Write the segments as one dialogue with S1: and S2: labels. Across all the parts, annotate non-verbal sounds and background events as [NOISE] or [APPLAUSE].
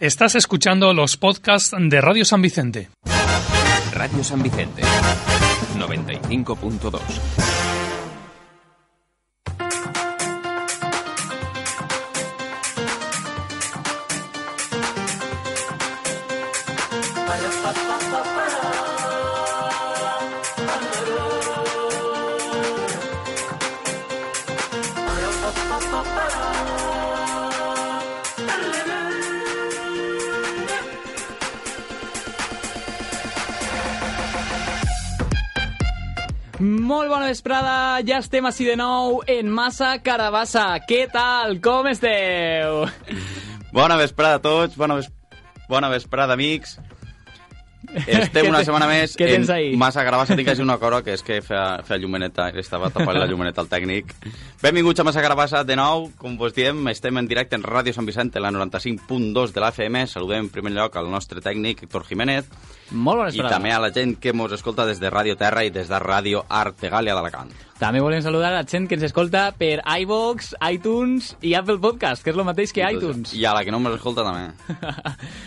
S1: Estás escuchando los podcasts de Radio San Vicente.
S2: Radio San Vicente 95.2
S3: Molt bona vesprada, ja estem així de nou en Massa Carabassa. Què tal? Com esteu?
S4: Bona vesprada a tots, bona, ves... bona vesprada, amics.
S3: [LAUGHS]
S4: Estem
S3: Què
S4: una
S3: te-
S4: setmana més
S3: què
S4: en
S3: tens ahí?
S4: Massa Carabassa. Tinc així una cosa que és que feia, feia llumeneta, estava tapant la llumeneta al tècnic. Benvinguts a Massa Carabassa de nou. Com vos diem, estem en directe en Ràdio Sant Vicente, la 95.2 de l'AFM. Saludem en primer lloc al nostre tècnic, Héctor Jiménez,
S3: Molt bona
S4: i
S3: vesprada.
S4: també a la gent que ens escolta des de Ràdio Terra i des de Ràdio Artegàlia d'Alacant.
S3: també volem saludar a la gent que ens escolta per iVox, iTunes i Apple Podcast, que és el mateix que iTunes.
S4: I a la que no ens escolta també.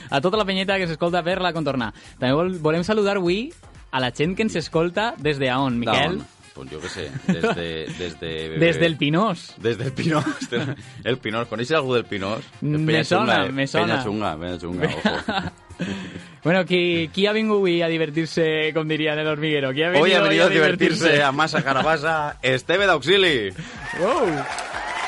S3: a tota la penyeta que ens escolta per la contorna. També vol, volem saludar avui a la gent que ens escolta des de on, Miquel?
S4: D'on? Pues Doncs, jo què sé, des de... Des, de...
S3: Des del Pinós.
S4: Des del Pinós. [LAUGHS] este, El Pinós. Coneixes algú del Pinós? eh,
S3: Me sona, me sona.
S4: Penya xunga, penya xunga, ojo.
S3: Bueno, qui, qui ha vingut avui a divertir-se, com dirien el hormiguero? Qui ha
S4: Hoy
S3: venido
S4: ha venido a
S3: hoy
S4: divertirse a Massa Carabassa Esteve d'Auxili.
S3: Wow.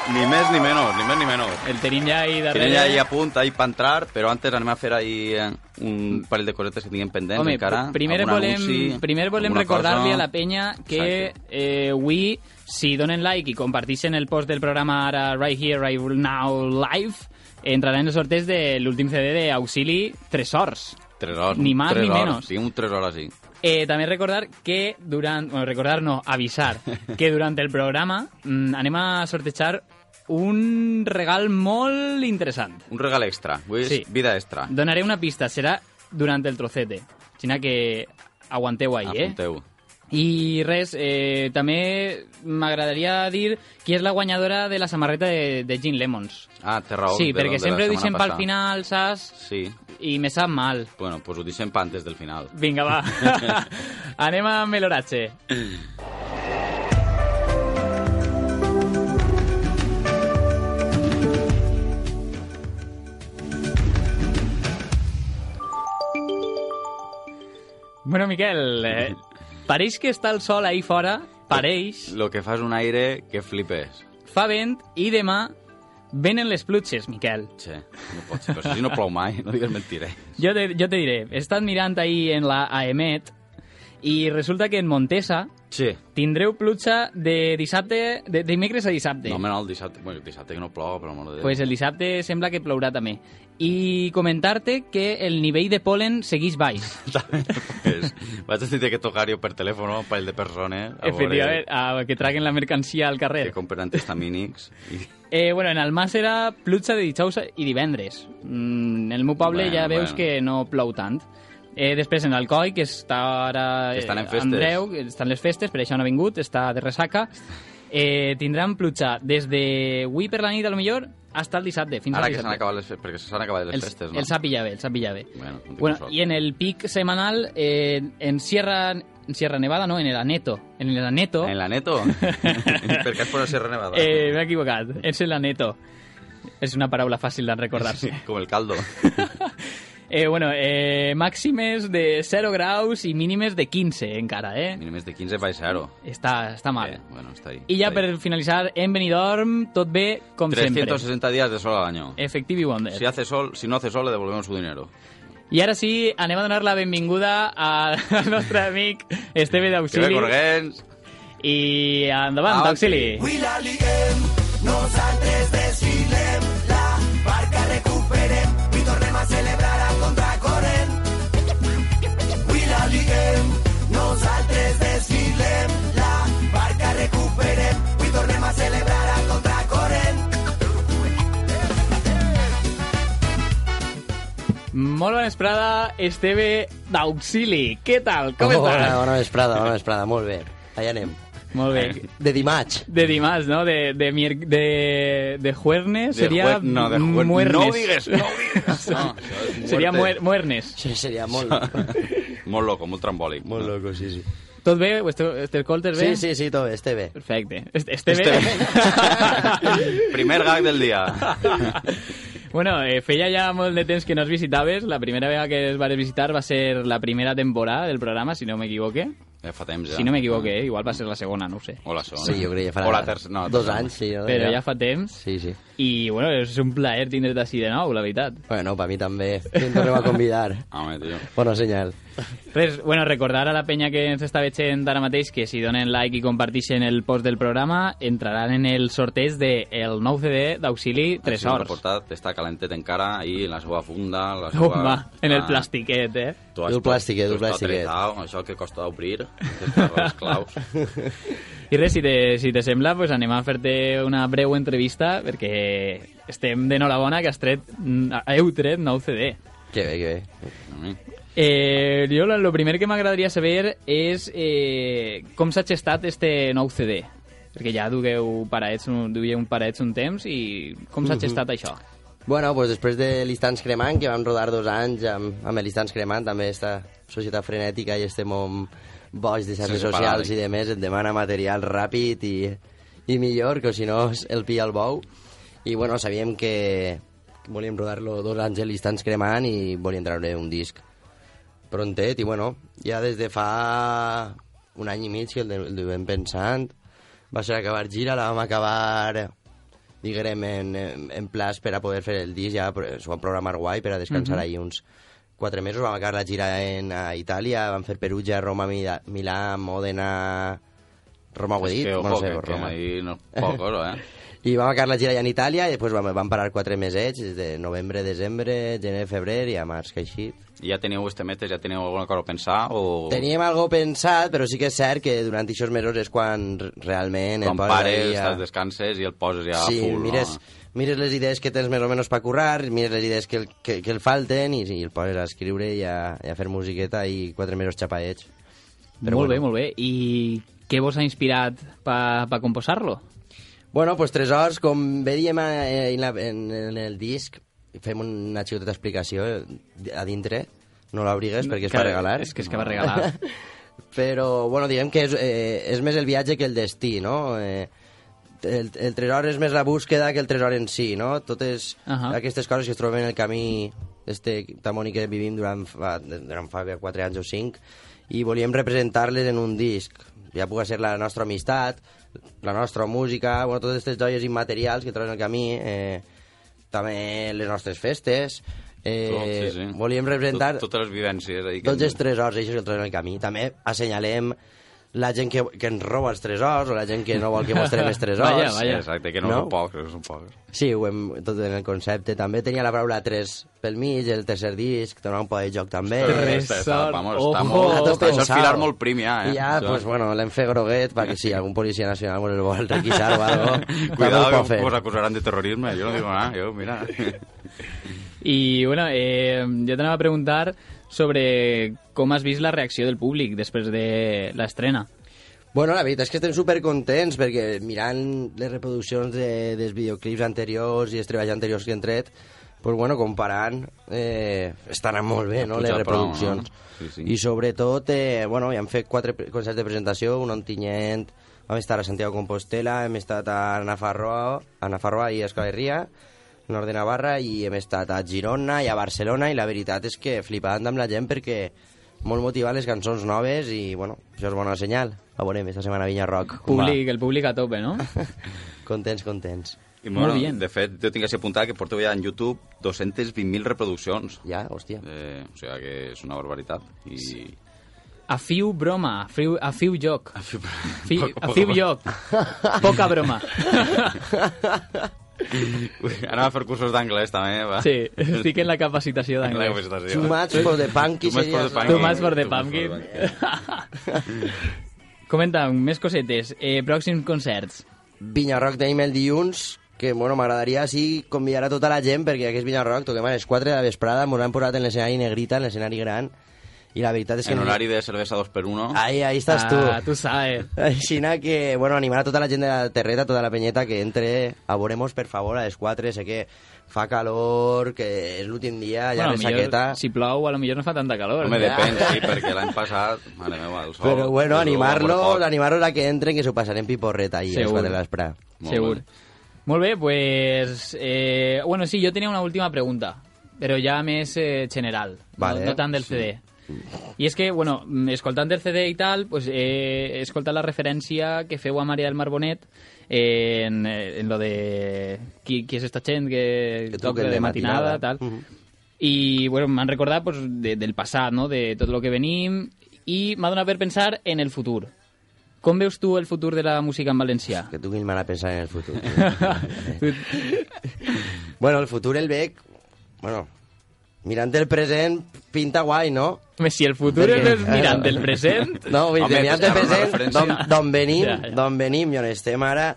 S4: Ni més ni menys, ni més ni menys.
S3: El tenim ja ahí darrere.
S4: Tenen ja ahí a punt, ahí per entrar, però antes anem a fer ahí eh, un parell de cosetes que tinguem pendents
S3: Home,
S4: encara.
S3: pr- primer
S4: Algun
S3: volem,
S4: anunci,
S3: primer volem
S4: alguna
S3: recordar-li
S4: cosa.
S3: a la penya que
S4: Exacte.
S3: eh, avui, si donen like i comparteixen el post del programa ara Right Here, Right Now Live, entraran en el sorteig de l'últim CD d'Auxili Tres Horts.
S4: Tres hores.
S3: ni más
S4: tres
S3: ni
S4: hores.
S3: menos.
S4: Tinc un tres hores, sí.
S3: Eh, també recordar que durant... Bueno, recordar no, avisar que durant el programa mm, anem a sortejar un regal molt interessant.
S4: Un regal extra. Vull
S3: Sí.
S4: sí. vida extra.
S3: Donaré una pista, serà durant el trocete. Xina que aguanteu ahí, eh?
S4: Apunteu.
S3: I res, eh, també m'agradaria dir qui és la guanyadora de la samarreta de, de Gin Lemons.
S4: Ah, té raó.
S3: sí,
S4: de- de
S3: perquè
S4: la
S3: sempre ho
S4: setmana
S3: deixem pel
S4: passada.
S3: final, saps?
S4: Sí.
S3: I me sap mal.
S4: Bueno, pues ho deixem pa antes del final.
S3: Vinga, va. Anem amb l'oratge. Bueno, Miquel, eh, pareix que està el sol ahí fora, pareix,
S4: Lo que fas un aire que flipes.
S3: fa vent i demà venen les plutxes, Miquel.
S4: Che, no pot ser, però si no plou mai, no digues mentires.
S3: Jo te, jo te diré, he estat mirant ahir en la AEMET i resulta que en Montesa,
S4: Che,
S3: Tindreu pluja de dissabte, de, de dimecres a dissabte.
S4: no me el dissabte, bueno, el dissabte que no plou, però amor de Déu.
S3: pues el dissabte sembla que plourà també. I comentar-te que el nivell de polen segueix
S4: [LAUGHS]
S3: baix.
S4: pues, vaig a sentir que tocar jo per telèfon a un parell de persones. a veure
S3: Efectivament, a que traguen la mercancia al
S4: Que
S3: carrer.
S4: compren antihistamínics. I...
S3: Eh, bueno, en Almàssera, pluja de dijous i divendres. Mm, en el meu poble
S4: Bueno,
S3: ja veus
S4: bueno.
S3: que no plou tant. Eh, després en Alcoi, que està ara...
S4: Que estan en
S3: eh,
S4: festes.
S3: Andreu, que estan les festes, per això no ha vingut, està de ressaca. Eh, tindran pluja des de avui per la nit, a lo millor, fins al dissabte. Fins
S4: Ara
S3: al
S4: que s'han
S3: dissabte.
S4: acabat les festes, perquè s'han acabat les
S3: El,
S4: festes, no?
S3: el sap Villave, el sap Villave.
S4: Bueno, no
S3: Bueno, y en el pic semanal eh, en Sierra en Sierra Nevada, no, en el Aneto. En el Aneto.
S4: En
S3: [LAUGHS]
S4: la Neto? per què es posa Serra Nevada?
S3: Eh, M'he equivocat, és el Aneto. És una paraula fàcil de recordar-se.
S4: Com el caldo.
S3: Eh, bueno, eh, màximes de 0 graus i mínimes de 15 encara, eh?
S4: Mínimes de 15 baixar-ho.
S3: Està, està mal.
S4: Eh, bueno, està ahí.
S3: I ja
S4: està ahí.
S3: per finalitzar, en Benidorm, tot bé, com 360.
S4: 360 días de sol al año.
S3: sempre. Efectivi Wonder.
S4: Si hace sol, si no hace sol, le devolvemos su dinero.
S3: I ara sí, anem a donar la benvinguda [LAUGHS] al nostre amic Esteve
S4: Que ve
S3: d'Auxili.
S4: Corguens!
S3: I endavant,
S4: Avanti.
S3: d'Auxili.
S5: We la liguem, nosaltres desfilem, la barca recuperem i tornem a celebrar a contracorrent. We la liguem, nosaltres desfilem, la barca recuperem i tornem a celebrar a contracorrent.
S3: Molt bona vesprada, Esteve d'Auxili. Què tal? Com
S6: Oh,
S3: estàs?
S6: Bona, bona vesprada, bona vesprada, molt bé. Allà anem.
S3: Molt bé.
S4: Eh.
S6: De Dimash.
S3: De Dimas, ¿no? De, de, mier- de, de Juernes
S4: De
S3: sería
S4: juer- no, de juer-
S3: Muernes.
S4: No digues, no
S3: [LAUGHS]
S4: digues. No, això és
S3: Seria muer
S4: muerte.
S3: Muernes.
S6: Això seria molt...
S4: Molt loco, molt trambòlic.
S6: molt loco, sí, sí.
S3: Tot bé? Este, este col, tot bé?
S6: Sí, sí, sí, tot bé, este bé.
S3: Perfecte. Este, este bé?
S4: [LAUGHS] Primer gag del dia.
S3: [LAUGHS] bueno, eh, feia ja molt de temps que no es visitaves. La primera vegada que es vas visitar va ser la primera temporada del programa, si no m'equivoque.
S4: Ja fa temps, ja. Ah.
S3: Si no m'equivoque, eh? igual va ser la segona, no ho sé.
S4: O la segona.
S6: Sí, jo crec que ja farà
S4: O la tercera. No,
S6: dos
S4: tercera.
S6: anys, sí. No?
S3: Però ja fa temps.
S6: Sí, sí.
S3: I, bueno, és un plaer tindre't així de nou, la veritat.
S6: Bueno, para mí también. ¿Quién te va a convidar?
S4: Home, tio.
S6: Bueno, señal.
S3: Res, bueno, recordar a la penya que ens està veient ara mateix que si donen like i comparteixen el post del programa entraran en el sorteig del el nou CD d'Auxili
S4: Sí,
S3: 3
S4: l'ha
S3: Horts.
S4: portat, està calentet encara, i la seva funda, la seva...
S3: Oh, va, en el
S4: Ah,
S3: plastiquet, eh?
S4: tu has
S6: Dur plàstic, eh,
S4: tu
S6: dur
S4: has tot
S6: plàstic, eh.
S4: tretau, Això que costa obrir, les claus.
S3: I res, si te, si te sembla, pues anem a fer-te una breu entrevista perquè estem d'enhorabona que has tret, mm, heu tret nou CD.
S6: Qué bé, qué bé.
S3: Eh, jo lo- lo primer que m'agradaria saber és eh, com s'ha gestat este nou CD. Perquè ja dugueu parets, un, duia un parets un temps i com s'ha gestat això?
S6: Bueno, pues després de l'Instants Cremant, que vam rodar dos anys amb, amb l'Instants Cremant, també esta societat frenètica i este món boig de xarxes
S4: Sense
S6: socials
S4: paràleg.
S6: i de més et demana material ràpid i, i millor, que si no es- el pilla el bou. I bueno, sabíem que volíem rodar-lo dos anys a l'Instants Cremant i volíem treure un disc prontet i bueno, ja des de fa un any i mig que el, el duem pensant va ser acabar gira, la vam acabar diguem en, en, en plaç per a poder fer el disc ja però s'ho vam programar guai per a descansar
S4: Mhm.
S6: mm -hmm. ahir uns quatre mesos vam acabar la gira en, a Itàlia vam fer Perugia, Roma, Mila, Milà Mòdena Roma ho he dit?
S4: que, ojo,
S6: no sé,
S4: que, que
S6: Roma.
S4: ahí no és poc, oro, eh?
S6: [LAUGHS] I vam acabar la gira allà en Itàlia i després vam, vam parar quatre mesets, des de novembre, desembre, gener, febrer i a març, que així.
S4: I Ja teniu este metes, ja teniu alguna cosa a pensar o...
S6: Teníem algo pensat, però sí que és cert que durant aquests mesos és quan r- realment...
S4: Quan
S6: poses
S4: pares,
S6: ahí a-
S4: estàs descanses i el poses ja
S6: sí,
S4: full,
S6: mires,
S4: no?
S6: mires les idees que tens més o menys per currar, mires les idees que, el- que, que el falten i, i el poses a escriure i a, i a fer musiqueta i quatre mesos xapaets.
S3: Però molt bé, molt bé. I què vos ha inspirat per pa composar-lo?
S6: Bueno, pues Tresors, com bé diem eh, en, la, en, en el disc, fem una xicoteta explicació eh, a dintre, no l'abrigues perquè és
S3: Que-
S6: per regalar.
S3: És que és que va regalar.
S6: Però, bueno, diguem que és, eh, és més el viatge que el destí, no? Eh, el, el tresor és més la búsqueda que el tresor en si, no? Totes uh
S3: Ahà.
S6: -huh. aquestes coses que es troben en el camí este tan bonic que vivim durant fa, durant fa bé 4 anys o 5 i volíem representar-les en un disc. Ja pugui ser la nostra amistat, la nostra música, bueno, totes aquestes joies immaterials que trobes en el camí, eh, també les nostres festes... Eh,
S4: Tot, sí, sí.
S6: Volíem representar...
S4: Tot, totes les vivències. Ahí,
S6: Tots els tresors, això és el tros en el camí. També assenyalem la gent que, que ens roba els tresors o la gent que no vol que mostrem
S3: [LAUGHS]
S6: els tresors.
S3: Vaja, vaja.
S4: Exacte, que no,
S6: No.
S4: són pocs, no són pocs.
S6: Sí, ho hem, tot en el concepte. També tenia la paraula 3 pel mig, el tercer disc, donar un poc de joc també.
S3: Tres.
S4: Està, està, vamos, està
S3: Ojo.
S4: molt,
S6: Eh, A
S4: està,
S6: tot
S4: està, això és
S6: pensado.
S4: filar molt prim, ja, eh?
S6: I ja,
S4: Això-
S6: doncs, pues, bueno, l'hem fet groguet perquè si algun policia nacional vol el vol requisar o
S4: [LAUGHS]
S6: algo, també ho
S4: Cuidado,
S6: pot
S4: que
S6: fer.
S4: os acusarán de terrorisme. Yo no digo nada, yo,
S6: [LAUGHS]
S4: mira.
S3: I, bueno, eh, jo t'anava a preguntar sobre com has vist la reacció del públic després de l'estrena.
S6: Bueno, la veritat és que estem supercontents perquè mirant les reproduccions de, dels videoclips anteriors i els treballs anteriors que hem tret, pues bueno, comparant, eh, estaran molt bé, no?,
S4: pujat
S6: les
S4: prou,
S6: reproduccions.
S4: no? Sí, sí.
S6: I sobretot, eh, bueno, ja hem fet quatre pre- concerts de presentació, un a Ontinyent, vam estar a Santiago de Compostela, hem estat a Nafarroa, a Nafarroa i a Euskal Herria, nord de Navarra, i hem estat a Girona i a Barcelona, i la veritat és que flipant amb la gent perquè molt motivant les cançons noves i, bueno, això és bona senyal. A veurem, esta setmana a Vinya Rock. com va.
S3: Públic, el públic a tope, no?
S6: Contents, contents.
S4: I,
S3: Molt bien.
S4: De fet, jo tinc que apuntar que porto ja en YouTube 220.000 reproduccions.
S6: Ja, hòstia.
S4: Eh, o sigui que és una barbaritat. I... Sí.
S3: A fiu broma, a fiu, a fiu joc. A fiu,
S4: poco,
S3: a
S4: poco.
S3: fiu joc. Poca broma. [LAUGHS]
S4: [LAUGHS] Anava a fer cursos d'anglès, també, va.
S3: Sí, estic
S4: [LAUGHS]
S3: en la capacitació
S4: La
S3: d'anglès.
S4: capacitació.
S6: Too much for the punky
S4: Eh, Too much for the
S6: seria...
S4: punky.
S3: Too much for the
S4: Too much for the
S3: pumpkin. [LAUGHS] Comenta'm, més cosetes. Eh, pròxims concerts.
S6: Vinya Rock tenim el dilluns, que bueno, m'agradaria sí convidar a tota la gent, perquè aquest Vinya Rock toquem a les 4 de la vesprada, m'ho han posat en l'escenari negrita, en l'escenari gran, I la veritat és que...
S4: En horari de cervesa 2x1.
S6: Ahí, ahí estàs
S3: Ah,
S6: tu.
S3: tu sabes.
S6: Aixina que, bueno, animar a tota la gent de la terreta, tota la penyeta que entre a Voremos, per favor, a les 4, sé que fa calor, que és l'últim dia, ja bueno,
S3: millor,
S6: saqueta...
S3: si plou, a lo millor no fa tanta calor.
S4: Home, depèn, sí, perquè l'any passat, mare meva, el sol...
S6: Però
S4: el sol
S6: bueno,
S4: va
S6: animar-lo,
S4: molt fort.
S6: animar-lo a que entren, que s'ho passarem piporreta ahir, a les
S3: Segur.
S6: 4 de l'espre.
S4: Molt
S3: Segur.
S4: bé.
S3: Molt bé, pues... Eh, bueno, sí, yo tenía una última pregunta, pero ya més eh, general,
S6: Vale,
S3: no, no tan del CD. I és que, bueno, mm, escoltant el CD i tal, pues, eh, he escoltat la referència que feu a Maria del Mar Bonet eh, en, eh, en lo de qui, qui és esta gent que,
S6: Que
S3: toca
S6: truquen
S3: de
S6: de
S3: matinada,
S6: matinada.
S3: tal.
S6: Mhm.
S3: I, bueno, m'han recordat pues, de, del passat, no?, de tot el que venim, i m'ha donat per pensar en el futur. Com veus tu el futur de la música en valencià?
S6: Que tu quin mal a pensar en el futur. bueno, el futur el veig... Bueno, mirant el present, pinta guai, no?
S3: Home, si el futur
S6: Perquè-
S3: és mirant el
S6: [LAUGHS]
S3: present...
S6: No, vull dir,
S4: Home,
S6: mirant
S4: era
S6: el
S4: una
S6: present,
S4: referència.
S6: d'on d'on venim,
S3: Ja, ja.
S6: d'on venim i on estem ara,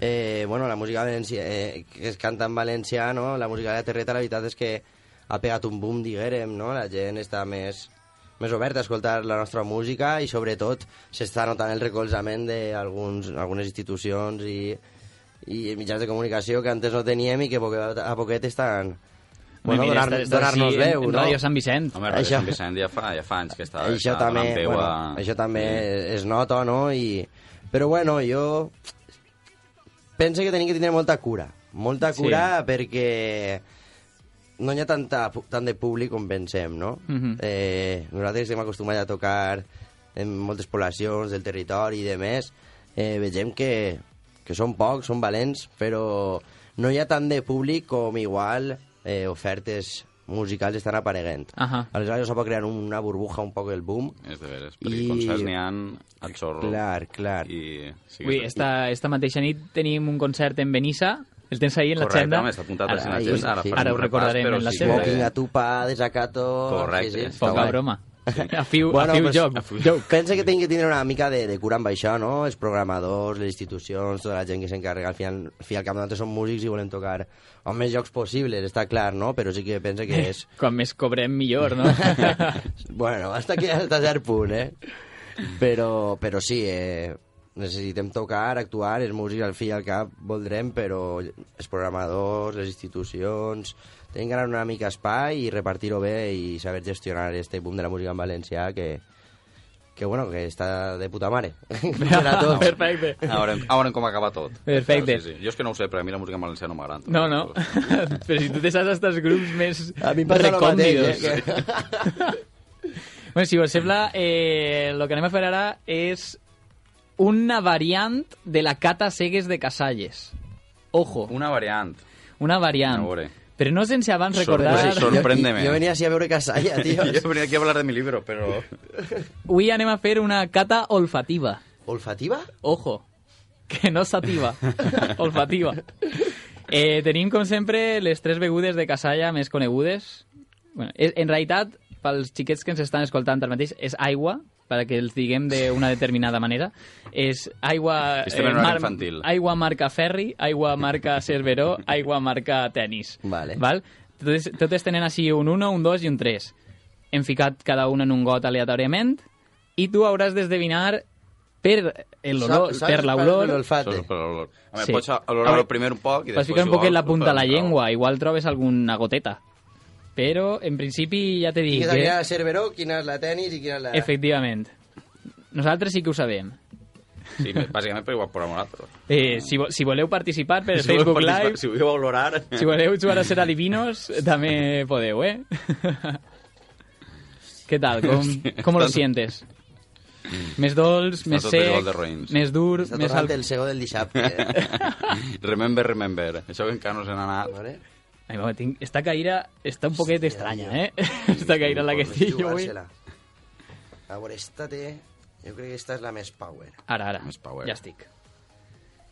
S6: eh, bueno, la música valencià, eh, que es canta en valencià, no? la música de la terreta, la veritat és que ha pegat un boom, diguérem, no? la gent està més, més oberta a escoltar la nostra música i sobretot s'està notant el recolzament d'algunes institucions i, i mitjans de comunicació que antes no teníem i que poquet a poquet estan bueno,
S3: Mira,
S6: donar-
S3: estàs- estàs
S6: donar-nos donar
S3: així en-
S6: veu,
S3: en
S6: no?
S3: Ràdio Sant Vicent.
S4: Home, Ràdio
S6: Això-
S4: Sant Vicent ja fa, ja fa anys que està,
S6: això
S4: està
S6: també,
S4: donant peu
S6: bueno,
S4: a...
S6: això també es nota, no? I, però bueno, jo penso que tenim que tindre molta cura. Molta
S3: Sí.
S6: cura perquè no hi ha tanta, pu- tant de públic com pensem, no?
S3: Mhm.
S6: eh, nosaltres estem acostumats a tocar en moltes poblacions del territori i de més. Eh, vegem que, que són pocs, són valents, però no hi ha tant de públic com igual eh, ofertes musicals estan apareguent.
S3: Ajà.
S6: Aleshores això va crear una burbuja, un poc el boom.
S4: És de veres, perquè
S6: I-
S4: concerts n'hi ha al xorro.
S6: Clar, clar.
S4: I... Sí,
S3: Ui, esta, esta mateixa nit tenim un concert en Benissa, el tens ahir en
S4: Correcte,
S3: l'agenda.
S4: home, està apuntat així en
S3: tota Ara-
S6: l'agenda, ara
S3: sí.
S6: farem
S3: Ara ho
S4: un
S3: recordarem
S4: repàs, però
S3: en la
S4: sí
S3: seva.
S6: Smoking, atupa, desacato...
S4: Correcte.
S6: està
S3: Poca
S6: guai.
S3: broma. A fiu,
S6: Bueno,
S3: a fiu
S6: pues,
S3: joc.
S6: a fiu- Pensa que tinc que tindre una mica de, de cura amb això, no? Els programadors, les institucions, tota la gent que s'encarrega. Al final, al fi i al cap, nosaltres som músics i volem tocar el més jocs possibles, està clar, no? Però sí que
S3: [LAUGHS]
S6: pensa que és...
S3: Com més cobrem, millor,
S6: [LAUGHS]
S3: no?
S6: bueno, hasta aquí hasta cert punt, eh? Però, però sí, eh, necessitem tocar, actuar, els músics al fi i al cap voldrem, però els programadors, les institucions... Tenim que anar una mica a espai i repartir-ho bé i saber gestionar este boom de la música en valencià que, que bueno, que està de puta mare. [LAUGHS]
S3: [LAUGHS]
S6: per a tots.
S3: Perfecte.
S4: A veurem, a veurem com acaba tot.
S3: Perfecte.
S4: Sí, sí. Jo és que no ho sé, però a mi la música en valencià no m'agrada.
S3: No, no. [LAUGHS] Però si tu te saps estos grups més
S6: A mi em passa el
S3: recòndidos.
S6: mateix. Eh? Que...
S3: Bueno, si us sembla, eh, lo que anem a fer ara és una variant de la cata cegues de Casalles. Ojo, una,
S4: Una variant.
S3: una variant.
S4: A veure.
S3: Però no sense abans recordar...
S4: Sorpresa,
S6: Jo-
S4: Sorpréndeme.
S6: Jo, jo venia així a veure Casalla, tio.
S4: Jo venia aquí a hablar de mi libro, però...
S3: [LAUGHS] Avui anem a fer una cata olfativa.
S6: Olfativa?
S3: Ojo, que no sativa, olfativa. Eh, tenim, com sempre, les tres begudes de Casalla més conegudes. Bueno, és, en realitat, pels xiquets que ens estan escoltant ara mateix, és aigua, per que els diguem d'una determinada manera. És aigua... eh,
S4: Estem en horari infantil.
S3: Aigua marca ferri, aigua marca cerveró, aigua marca tennis.
S6: Vale.
S3: Val? Totes, totes tenen així un 1, un 2 i un 3. Hem ficat cada una en un got aleatòriament i tu hauràs d'esdevinar per l'olor,
S6: Saps- saps
S3: per
S6: per
S3: l'olor...
S6: L'olfate.
S4: Solo per l'olor. Home,
S3: Sí.
S4: sí. pots
S3: A veure,
S4: olorar-ho primer un poc i
S3: Vas
S4: després...
S3: ficar un poquet la punta a la
S4: igual,
S3: llengua, igual trobes alguna goteta. Però, en principi, ja t'he
S6: Quina
S3: dit
S6: és
S3: que...
S6: la Cerveró, quina és la tenis i quina és la...
S3: Efectivament. Nosaltres sí que ho sabem.
S4: Sí, bàsicament per igual per amorar,
S3: [LAUGHS]
S4: però...
S3: Eh, si, vo- si voleu participar per
S4: voleu
S3: Facebook
S4: participar-
S3: Live,
S4: Si ho diu a olorar...
S3: [LAUGHS] si voleu jugar a ser adivinos, també podeu, eh? [LAUGHS] Què tal? Com, com lo
S4: Estàs-
S3: sientes? Més dolç, més
S4: tot
S3: sec,
S4: igual de roïns.
S3: més dur,
S6: Està
S3: més
S6: tornant
S3: alt...
S6: el sego del
S3: [LAUGHS]
S6: dissabte. eh,
S4: Remember, remember. Això que encara no se n'ha anat.
S6: Vale?
S3: Ai, mama, tinc... Esta caïra està un poquet estranya, eh? [LAUGHS] Esta caïra en la que estic jo avui.
S6: Jugar-se-la. A veure, esta té... Jo crec que esta és la més power.
S3: Ara, ara.
S4: Més power.
S3: Ja estic.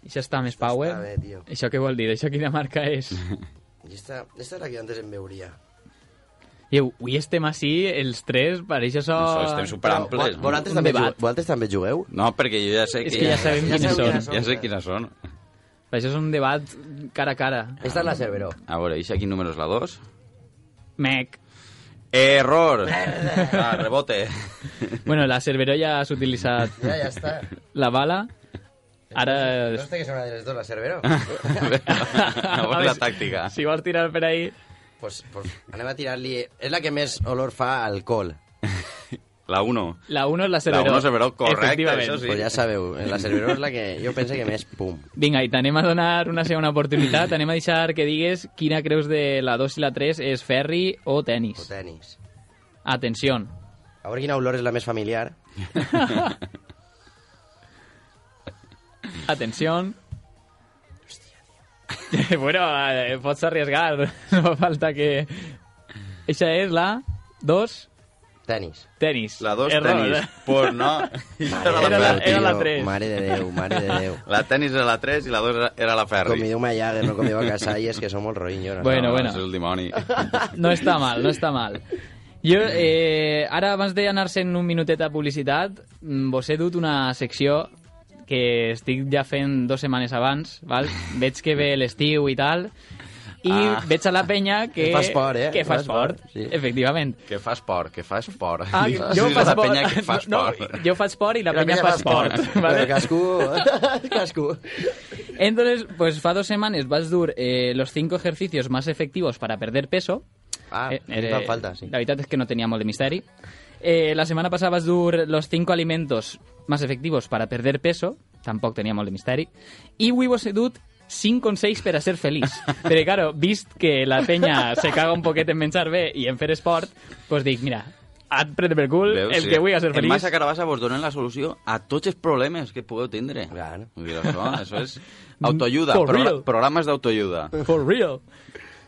S3: Això està més power.
S6: està bé, tio.
S3: Això què vol dir? Això quina marca
S4: [LAUGHS]
S3: és?
S6: I esta, esta és la que antes em veuria.
S3: I avui estem així, els tres, pareix això...
S4: Això, estem superamples.
S6: Però, vo- vosaltres,
S3: Un
S6: també
S3: debat.
S6: jugueu, vosaltres també jugueu?
S4: No, perquè jo ja sé
S3: És que ja sabem
S6: Ja
S3: quines
S6: sabem
S3: són.
S6: quines són.
S4: Ja sé quines són.
S3: Això és un debat cara a cara.
S6: Esta és la Cerveró.
S4: A veure, i si aquí número és la 2?
S3: Mec.
S4: Error! Ah,
S3: [LAUGHS]
S4: rebote.
S3: Bueno, la Cerveró ja has utilitzat
S6: Ja, ja
S3: [LAUGHS]
S6: està.
S3: la bala.
S4: [LAUGHS]
S3: Ara...
S6: No sé que serà de les dues
S3: [LAUGHS]
S6: la Cervero.
S4: Llavors la tàctica.
S3: Si vols tirar per ahí...
S6: pues, pues anem a tirar-li... És la que més olor fa a alcohol.
S4: La 1.
S3: La 1 és la Cerveró.
S4: La 1 Cerveró, correcte,
S3: Efectivament.
S4: això
S6: Sí.
S4: sí.
S6: Pues ja sabeu, eh, la Cervero és la que jo penso que més pum.
S3: Vinga, i t'anem a donar una segona oportunitat. T'anem a deixar que digues quina creus de la 2 i la 3 és ferri o
S6: O
S3: tennis.
S6: tenis.
S3: Atenció.
S6: A veure quina olor és la més familiar.
S3: Atenció. [LAUGHS] bueno, eh, pots arriesgar. [LAUGHS] No fa falta que... Eixa és la 2,
S6: Tenis.
S3: tennis.
S4: La 2,
S3: Error. eh?
S4: tenis. Pues no. Era
S3: [LAUGHS] Era la-
S4: la, la,
S3: era la
S6: tio,
S3: tres.
S6: Mare de Déu, mare de Déu.
S4: la tenis era la 3 i la 2 era la
S6: Com hi
S4: Ferri.
S6: diu Mayaguer, no com diu a Casalles, que som molt roïnyores.
S3: Bueno,
S4: no,
S3: bueno.
S4: És el dimoni.
S3: No està mal, no està mal. Jo, eh, ara, abans d'anar sent un minutet a publicitat, mm, vos he dut una secció que estic ja fent dues setmanes abans, val? veig que ve l'estiu i tal, i
S4: Ah.
S3: veig a la penya que...
S6: Que fa esport, eh?
S3: Que fa
S6: Fa esport,
S3: esport,
S6: sí.
S3: efectivament.
S4: Que fa esport, que fa esport.
S3: Ah, jo
S4: Sí,
S3: faig
S4: la
S3: esport.
S4: penya que fa
S3: No,
S4: esport.
S3: no, jo faig esport i la, penya, fa esport.
S6: Vale.
S3: vale?
S6: Però cascú... [LAUGHS] cascú.
S3: Entonces, pues fa dos semanas vas dur eh, los cinco ejercicios más efectivos para perder peso.
S6: Ah,
S3: eh,
S6: no fan falta, sí.
S3: La verdad es que no teníamos de misterio. Eh, la semana pasada vas dur los cinco alimentos más efectivos para perder peso. Tampoco teníamos de misterio. Y we was dut 5 6 para ser feliz. Pero claro, vist que la peña se caga un poquete en menjar bé y en fer sport, pues dic, mira, et pren per cul
S4: Veus,
S3: el
S4: sí.
S3: que voy a ser
S4: En
S3: feliz.
S4: Massa Carabassa vos donen la solució a tots els problemes que pugueu tindre.
S6: Clar.
S4: Vull dir, això, això
S3: [LAUGHS]
S4: és autoajuda,
S3: For
S4: progra-
S3: real.
S4: programes d'autoajuda.
S3: For real.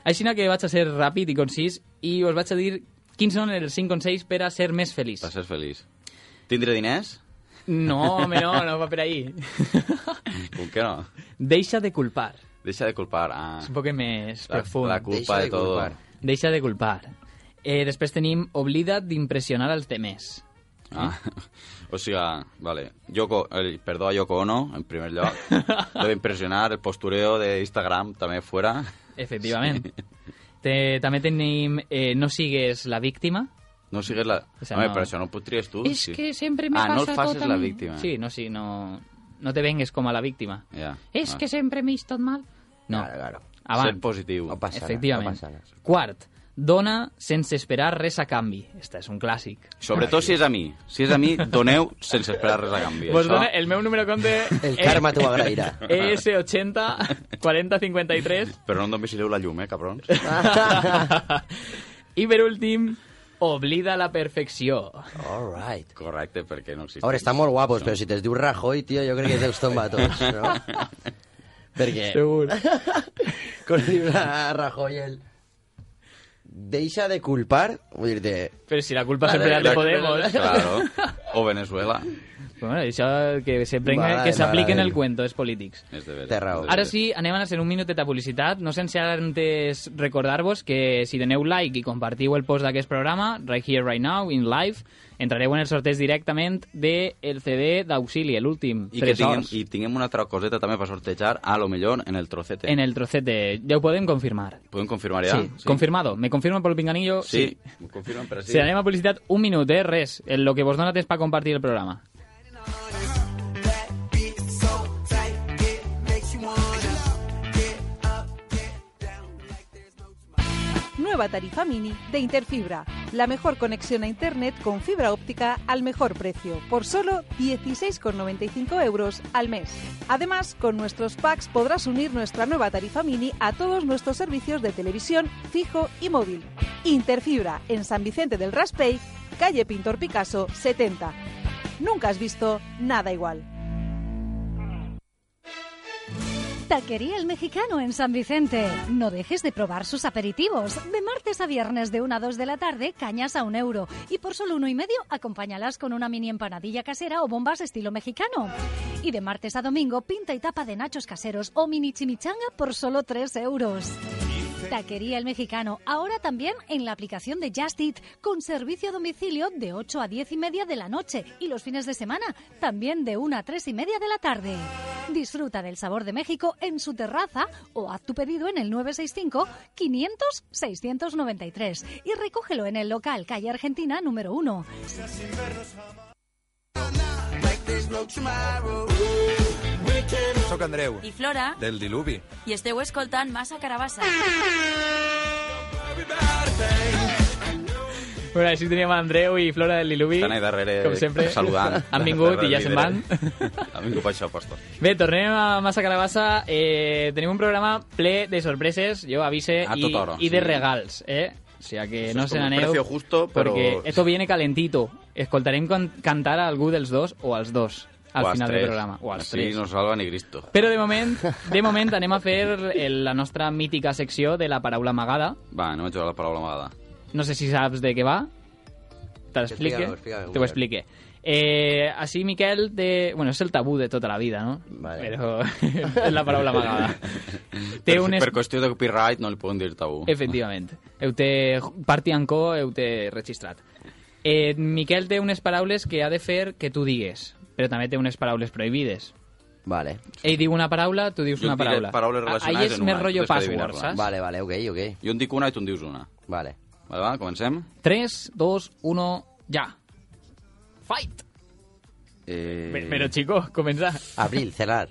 S3: Així que vaig a ser ràpid i concís i us vaig a dir quins són els 5 consells per a ser més feliç.
S4: Per ser feliç. Tindre diners?
S3: No, home, no, no va per ahí.
S4: Com que no?
S3: Deixa de culpar.
S4: Deixa de culpar. Ah,
S3: És un poc més
S4: la,
S3: profund.
S4: la culpa
S6: Deixa
S4: de,
S6: de
S4: todo.
S6: culpar.
S3: Deixa de culpar. Eh, després tenim oblida d'impressionar els demés.
S4: Ah, [LAUGHS] o sigui, ah, vale. Yoko, el, perdó a Yoko Ono, en primer
S3: [LAUGHS]
S4: lloc. Lo de impressionar, el postureo de Instagram també fora.
S3: Efectivament. Te, també tenim eh, no sigues la víctima.
S4: No sigues la...
S3: O sea,
S4: Home,
S3: no.
S4: però això no ho podries tu.
S3: És
S4: sí.
S3: que sempre me
S4: ah, no
S3: passa
S4: el facis
S3: tot a
S4: la
S3: mi.
S4: víctima.
S3: Sí, no, sí, no, no te vengues com a la víctima.
S4: Ja.
S3: És
S4: Ah.
S3: que sempre m'he vist tot mal. No,
S6: Claro, claro.
S3: avant.
S4: Ser positiu.
S6: No passa res,
S3: Efectivament.
S6: No passa res.
S3: Quart, dona sense esperar res a canvi. Esta és un clàssic.
S4: Sobretot si és a mi. Si és a mi, doneu sense esperar res a canvi.
S3: Vos
S4: Això-
S3: dona el meu número de compte...
S4: [LAUGHS]
S6: El karma t'ho agrairà.
S3: ES80 4053
S4: Però no em domicileu la llum, eh,
S6: [LAUGHS]
S4: cabrons?
S3: [LAUGHS] i per últim, oblida la perfecció.
S6: All right.
S4: Correcte, perquè no existeix.
S6: A veure, estan molt guapos, però si te'ls diu Rajoy, tio, jo crec que te'ls tomba a tots, no? Perquè
S3: Segur.
S6: quan li dius a Rajoy el... Deixa de culpar, vull dir-te...
S3: Però si la culpa sempre era de Podemos. eh.
S4: Claro. O Venezuela.
S3: [LAUGHS] Bueno, això que s'apliquen
S6: Vale,
S3: que s'apliquen
S6: vale.
S3: el cuento, els polítics.
S4: És de veres.
S6: Té raó.
S3: Ara sí, anem a fer un minutet a publicitat. No sense antes recordar-vos que si doneu like i compartiu el post d'aquest programa, Right Here, Right Now, in live, entrareu en el sorteig directament del el CD d'Auxili, l'últim.
S4: I, que
S3: Tres
S4: tinguem,
S3: horts,
S4: I tinguem una altra coseta també per sortejar, a lo millor, en el trocete.
S3: en el trocete. Ja ho podem confirmar.
S4: Podem confirmar ja?
S3: Sí, confirmado. Me confirma pel pinganillo?
S4: Sí, sí. ho confirmen, però sí.
S3: Si anem a publicitat, un minut, eh? Res. En lo que vos dona temps per compartir el programa.
S7: Nueva tarifa mini de Interfibra. La mejor conexión a Internet con fibra óptica al mejor precio, por solo 16,95 euros al mes. Además, con nuestros packs podrás unir nuestra nueva tarifa mini a todos nuestros servicios de televisión, fijo y móvil. Interfibra, en San Vicente del Raspey, calle Pintor Picasso, 70. Nunca has visto nada igual.
S8: Taquería El Mexicano en San Vicente. No dejes de probar sus aperitivos. De martes a viernes de 1 a 2 de la tarde, cañas a un euro. Y por solo uno y medio, acompáñalas con una mini empanadilla casera o bombas estilo mexicano. Y de martes a domingo, pinta y tapa de nachos caseros o mini chimichanga por solo 3 euros. Taquería El Mexicano, ahora también en la aplicación de Just Eat, con servicio a domicilio de 8 a 10 y media de la noche y los fines de semana también de 1 a 3 y media de la tarde. Disfruta del sabor de México en su terraza o haz tu pedido en el 965-500-693 y recógelo en el local Calle Argentina número 1.
S9: Soc Andreu,
S10: i Flora,
S9: del Diluvi.
S10: i esteu escoltant Massa Carabassa.
S3: Bueno, així teníem Andreu i Flora del Diluvi.
S4: Estan ahí darrere
S3: com sempre,
S4: saludant.
S3: Han vingut i ja
S4: Darrere
S3: se'n van.
S4: Han vingut per això, aposto.
S3: Bé, tornem a Massa Carabassa. Eh, tenim un programa ple de sorpreses, jo avise,
S4: A
S3: i,
S4: tot oro,
S3: i de
S4: sí.
S3: regals, eh? O sigui que
S4: Eso
S3: no
S4: es
S3: se
S4: como un
S3: n'aneu,
S4: precio justo, però-
S3: perquè esto viene calentito. Escoltarem can cantar a algú dels dos o als dos al
S4: O als
S3: final
S4: tres.
S3: del programa. O als
S4: Així
S3: tres.
S4: no salva ni Cristo.
S3: Però de moment, de moment anem a fer el, la nostra mítica secció de la paraula amagada.
S4: Va, anem a jugar la paraula amagada.
S3: No sé si saps de què va. Te l'explique?
S6: Explica-ho, explica-ho.
S3: Te ho explique. Eh, així, Miquel, té... Bueno, és el tabú de tota la vida, no?
S6: Vale.
S3: Però [LAUGHS] és la paraula
S4: [LAUGHS]
S3: amagada. té
S4: Per,
S3: un...
S4: per qüestió de copyright no li poden dir tabú.
S3: Efectivament. Heu té partit en co, heu té registrat. Eh, Miquel té unes paraules que ha de fer que tu digues, però també té unes paraules prohibides.
S6: Vale,
S3: Ell diu una paraula, tu dius
S4: Jo
S3: una
S4: et diré
S3: paraula.
S4: paraules relacionades
S3: Ahí és
S4: en una,
S3: més
S4: tu
S3: rotllo
S4: tens que
S3: password,
S4: adivinar-la.
S3: saps?
S6: vale, vale, ok, ok.
S4: Jo en dic una i tu en dius una.
S6: Vale.
S4: Vale, va, comencem?
S3: 3, 2, 1, ja. Fight!
S4: Eh...
S3: Pe- Però, chico, comença.
S6: Abril, cerrar.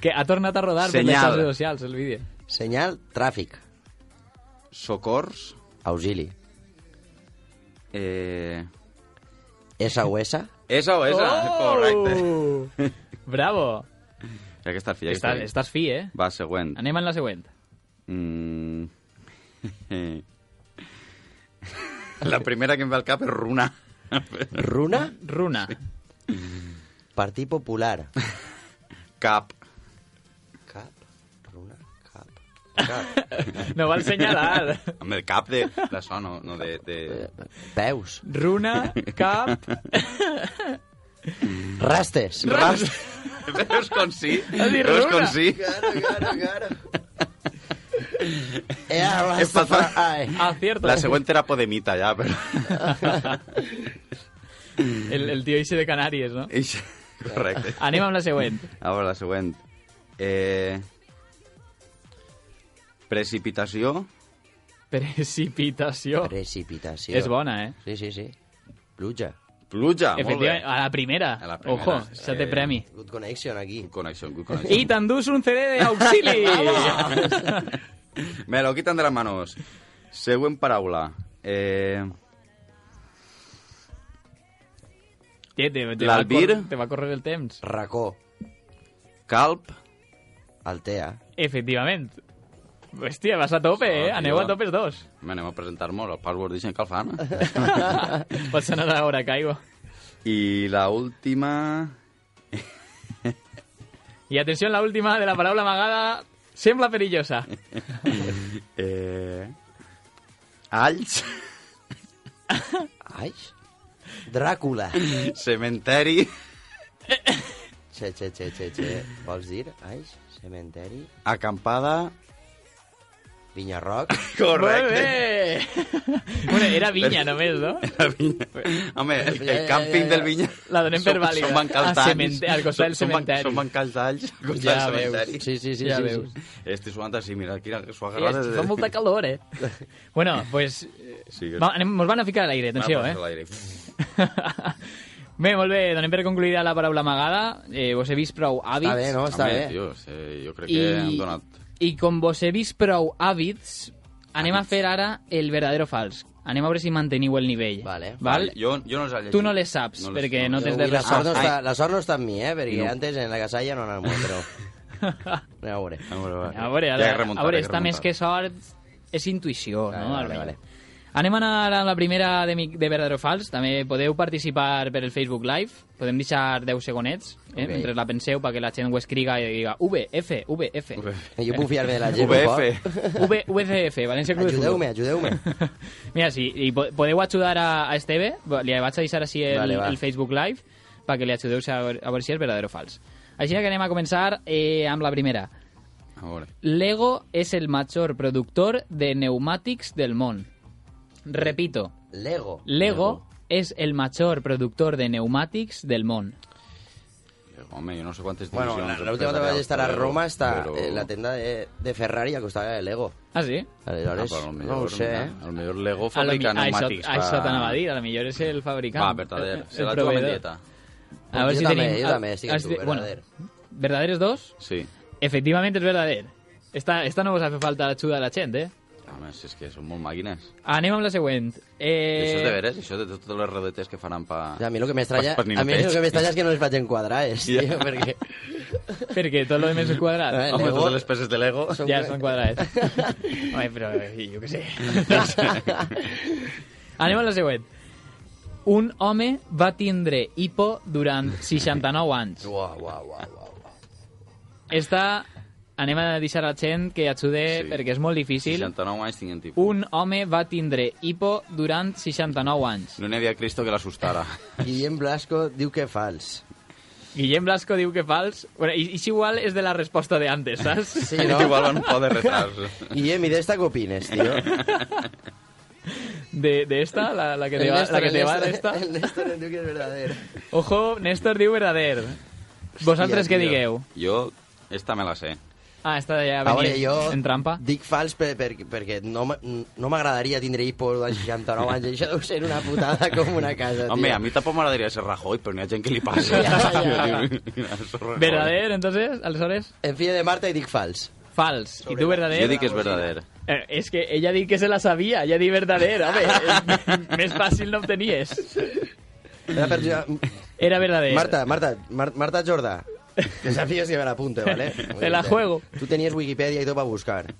S3: Que ha tornat a rodar per les
S4: Senyal.
S3: xarxes socials, el vídeo.
S6: Senyal, tràfic.
S4: Socors.
S6: Auxili.
S4: Eh...
S6: SOS.
S4: Esa o esa,
S3: Oh!
S4: correcte.
S3: [LAUGHS] Bravo!
S4: Ja que estàs fi, ja que
S3: Estàs, estàs fi, eh?
S4: Va, següent.
S3: Anem en la següent.
S4: Mm. [LAUGHS] La primera que em ve al cap és Runa.
S6: Runa,
S3: Runa.
S6: Partit Popular.
S4: Cap.
S6: Cap, runa, cap, cap.
S3: No val senyalar.
S4: Amb el cap de... de so, no, no de... de...
S6: Peus.
S3: Runa, cap...
S6: Rastes.
S4: Ras. Veus com sí?
S3: Has dit
S4: Veus
S3: Runa.
S4: com sí?
S6: Cara, cara, cara. Eh,
S4: Empatar.
S6: Rastafari.
S3: Acierto.
S4: La següent era Podemita, ja, però... [LAUGHS]
S3: El, el tio ixe de Canàries, no?
S4: Ix, Correcte.
S3: Anem amb la següent.
S4: A veure, la següent. Eh... Precipitació.
S3: Precipitació.
S6: Precipitació.
S3: És bona, eh?
S6: Sí, sí, sí. Pluja.
S4: Pluja, Ah, molt bé.
S3: Efectivament, ah. a la primera.
S4: A la primera,
S3: Ojo,
S4: sí.
S3: se té premi.
S6: Good connection aquí.
S4: Connection, good connection.
S3: I t'endús un CD
S4: [LAUGHS]
S3: d'auxili!
S4: Me lo quitan de las manos. Següent paraula. Eh...
S3: Te, te, te va a
S4: L'Albir?
S3: cor- te va a córrer el temps.
S6: Racó.
S4: Calp.
S6: Altea.
S3: Efectivament. Hòstia, vas a tope, eh?
S4: Ah,
S3: Aneu
S4: tio.
S3: a topes dos.
S6: [LAUGHS]
S4: Me anem a presentar molt al Password Edition que el fan.
S3: Pot sonar ara, caigo.
S4: I la última...
S3: I atenció, la última de la paraula amagada sembla perillosa.
S4: Eh... Alls.
S6: Ai. Dràcula.
S4: Cementeri.
S6: Che, che, che, che, che. Vols dir? Ai, cementeri.
S4: Acampada.
S6: Vinyarroc.
S4: Correcte.
S3: Molt bé! bueno, era vinya només, no?
S4: La vinya. Home, el, el càmping del vinya...
S3: La donem per vàlida.
S4: Són bancals
S3: A
S4: d'alls.
S3: cementer- al costat del
S4: Són- són ban-
S3: cementeri.
S4: Són bancals d'alls al costat
S3: Ja
S4: del
S3: veus.
S4: cementeri.
S6: Sí, sí, sí.
S3: Ja
S6: sí,
S3: veus.
S6: sí.
S4: Estic suant així, mira, quina s'ho ha agarrat.
S3: Hosti, Fa molta calor, eh? Bueno, pues...
S4: [LAUGHS] Sí, Ah, pues,
S3: Va, anem, mos van a ficar a l'aire, atenció, eh? [LAUGHS] Bé, molt bé, donem per concluïda la paraula amagada. Eh, vos he vist prou hàbits.
S6: Està bé, no? Està
S4: Home,
S6: bé.
S4: Tio, sí, jo crec
S3: eh? I,
S4: que hem donat...
S3: I com vos he vist prou hàbits, anem a fer ara el verdadero fals. Anem a veure si manteniu el nivell.
S6: Vale.
S3: Val?
S4: Jo, jo no les llegit.
S3: Tu no les saps, perquè no
S4: les-
S3: tens
S6: Avui
S3: de
S6: la sort, no
S4: resposta.
S6: està, la sort no està amb mi, eh? Perquè
S4: No.
S6: antes en la casalla no anàvem,
S3: [LAUGHS]
S6: però... Anem a veure.
S3: Ah,
S4: A veure, va.
S3: A veure,
S4: Ja
S3: ara,
S4: he remuntat,
S3: a veure
S4: ja he
S3: està més que
S4: remuntat.
S3: sort, és intuïció,
S6: Vale,
S3: no?
S6: vale,
S3: Almenys.
S6: vale.
S3: Anem a anar a la primera de, mi, de Verdadero o Fals. També podeu participar per el Facebook Live. Podem deixar 10 segonets, eh?
S6: Ok.
S3: mentre la penseu, perquè la gent ho escriga i diga VF, VF,
S6: [LAUGHS] Jo puc fiar-me de la gent
S4: [LAUGHS]
S6: un poc.
S4: VF.
S3: V, VCF, València Club de
S6: Ajudeu-me,
S3: Futbol. [LAUGHS]
S6: ajudeu-me.
S3: Mira, sí, i po- podeu ajudar a, a Esteve, Va- li vaig a deixar així el,
S6: Vale, va.
S3: el Facebook Live, perquè li ajudeu a, veure- a veure si és verdadero o fals. Així que anem a començar eh, amb la primera. Lego es el mayor productor de neumáticos del món. Repito,
S6: Lego.
S3: Lego es el mayor productor de neumáticos del món.
S4: Home, yo no sé cuántas
S6: Bueno, la,
S4: divisiones
S6: la última vegada vaig estar a
S4: empresarials,
S6: Roma està
S4: però-
S6: eh, la tenda de, de Ferrari a costada de Lego.
S3: Ah, sí?
S6: Aleshores,
S4: Ah, però potser,
S6: no ho sé, eh?
S4: mira, potser Lego
S3: A lo mi-
S4: fabrica
S3: a això,
S4: pneumàtics.
S3: a això t'anava a dir, a lo millor és el fabricant.
S4: Va, verdader.
S3: el-
S4: Se
S3: el
S4: la juga
S3: proveedor.
S4: medieta.
S3: A ver
S6: Yo
S3: si
S6: también,
S3: tenim-
S6: yo
S3: a-
S6: también, sí que
S3: a ver si-
S6: tú,
S3: bueno,
S6: verdadero.
S3: ¿verdaderes dos?
S4: Sí.
S3: Efectivamente es verdadero. Esta, esta no vos hace falta la chuda de la gente, eh?
S4: Home, si és que són molt màquines.
S3: Anem amb la següent.
S4: I això és de
S3: Eh,
S4: veres, això de totes les rodetes que faran pa...
S6: O sigui, a mi el que m'estranya
S4: Pas- pas ni un
S6: a mi el
S4: peix.
S6: que m'estranya és que no les vaig enquadrar, eh, tio,
S4: [LAUGHS] Ja.
S6: perquè
S3: perquè tot lo de més és
S6: [LAUGHS]
S3: quadrat.
S6: Eh,
S4: Home,
S6: Lego-
S4: totes les peces de Lego...
S6: Són-
S3: Ja són quadrats.
S6: [LAUGHS]
S3: Home, però eh, jo què sé. Anem a la següent. Un home va tindre hipo durant 69 anys.
S6: Uau, uau, uau, uau.
S3: Esta anem a deixar la gent que ajude
S4: Sí.
S3: perquè és molt difícil.
S4: 69 anys tinguent tipus.
S3: Un home va tindre hipo durant 69 anys.
S4: No n'hi havia Cristo que l'assustara.
S6: Guillem Blasco diu que fals.
S3: Guillem Blasco diu que fals. Bueno, i, i si igual és de la resposta de antes, saps?
S4: [LAUGHS]
S6: Sí,
S4: No.
S6: no?
S4: Igual van poder retar-se.
S6: Guillem, i d'esta què opines, tio?
S3: De, de esta, la, la que te
S6: El
S3: va,
S6: Néstor,
S3: la que
S6: el
S3: te va de
S6: Néstor-
S3: esta.
S6: El Néstor ens diu que és verdader.
S3: Ojo, Néstor diu verdader. Vosaltres què
S6: tio.
S3: digueu?
S4: Jo, esta me la sé.
S3: Ah, esta ja
S6: A veure,
S3: venia
S6: jo
S3: en trampa.
S6: dic fals per, per, perquè no, m- no m'agradaria tindre hipo de 69 anys. Això deu ser una putada com una casa, tio.
S4: Home, a mi tampoc m'agradaria ser Rajoy, però n'hi ha gent que li passa.
S6: Ja,
S4: [LAUGHS]
S6: ja.
S3: Verdader, entonces, aleshores?
S6: Em fio de Marta i dic fals.
S3: Fals. I tu verdader?
S4: Jo dic que és verdader.
S3: Eh, és que ella diu que se la sabia, ella diu verdader. Home, [LAUGHS] és- més fàcil no obtenies.
S6: Era per...
S3: Era verdader.
S6: Marta, Marta, Mar- Marta Jordà. Desafíos que me la apunte, ¿vale?
S3: Te la juego.
S6: Tú tenías Wikipedia y todo para buscar.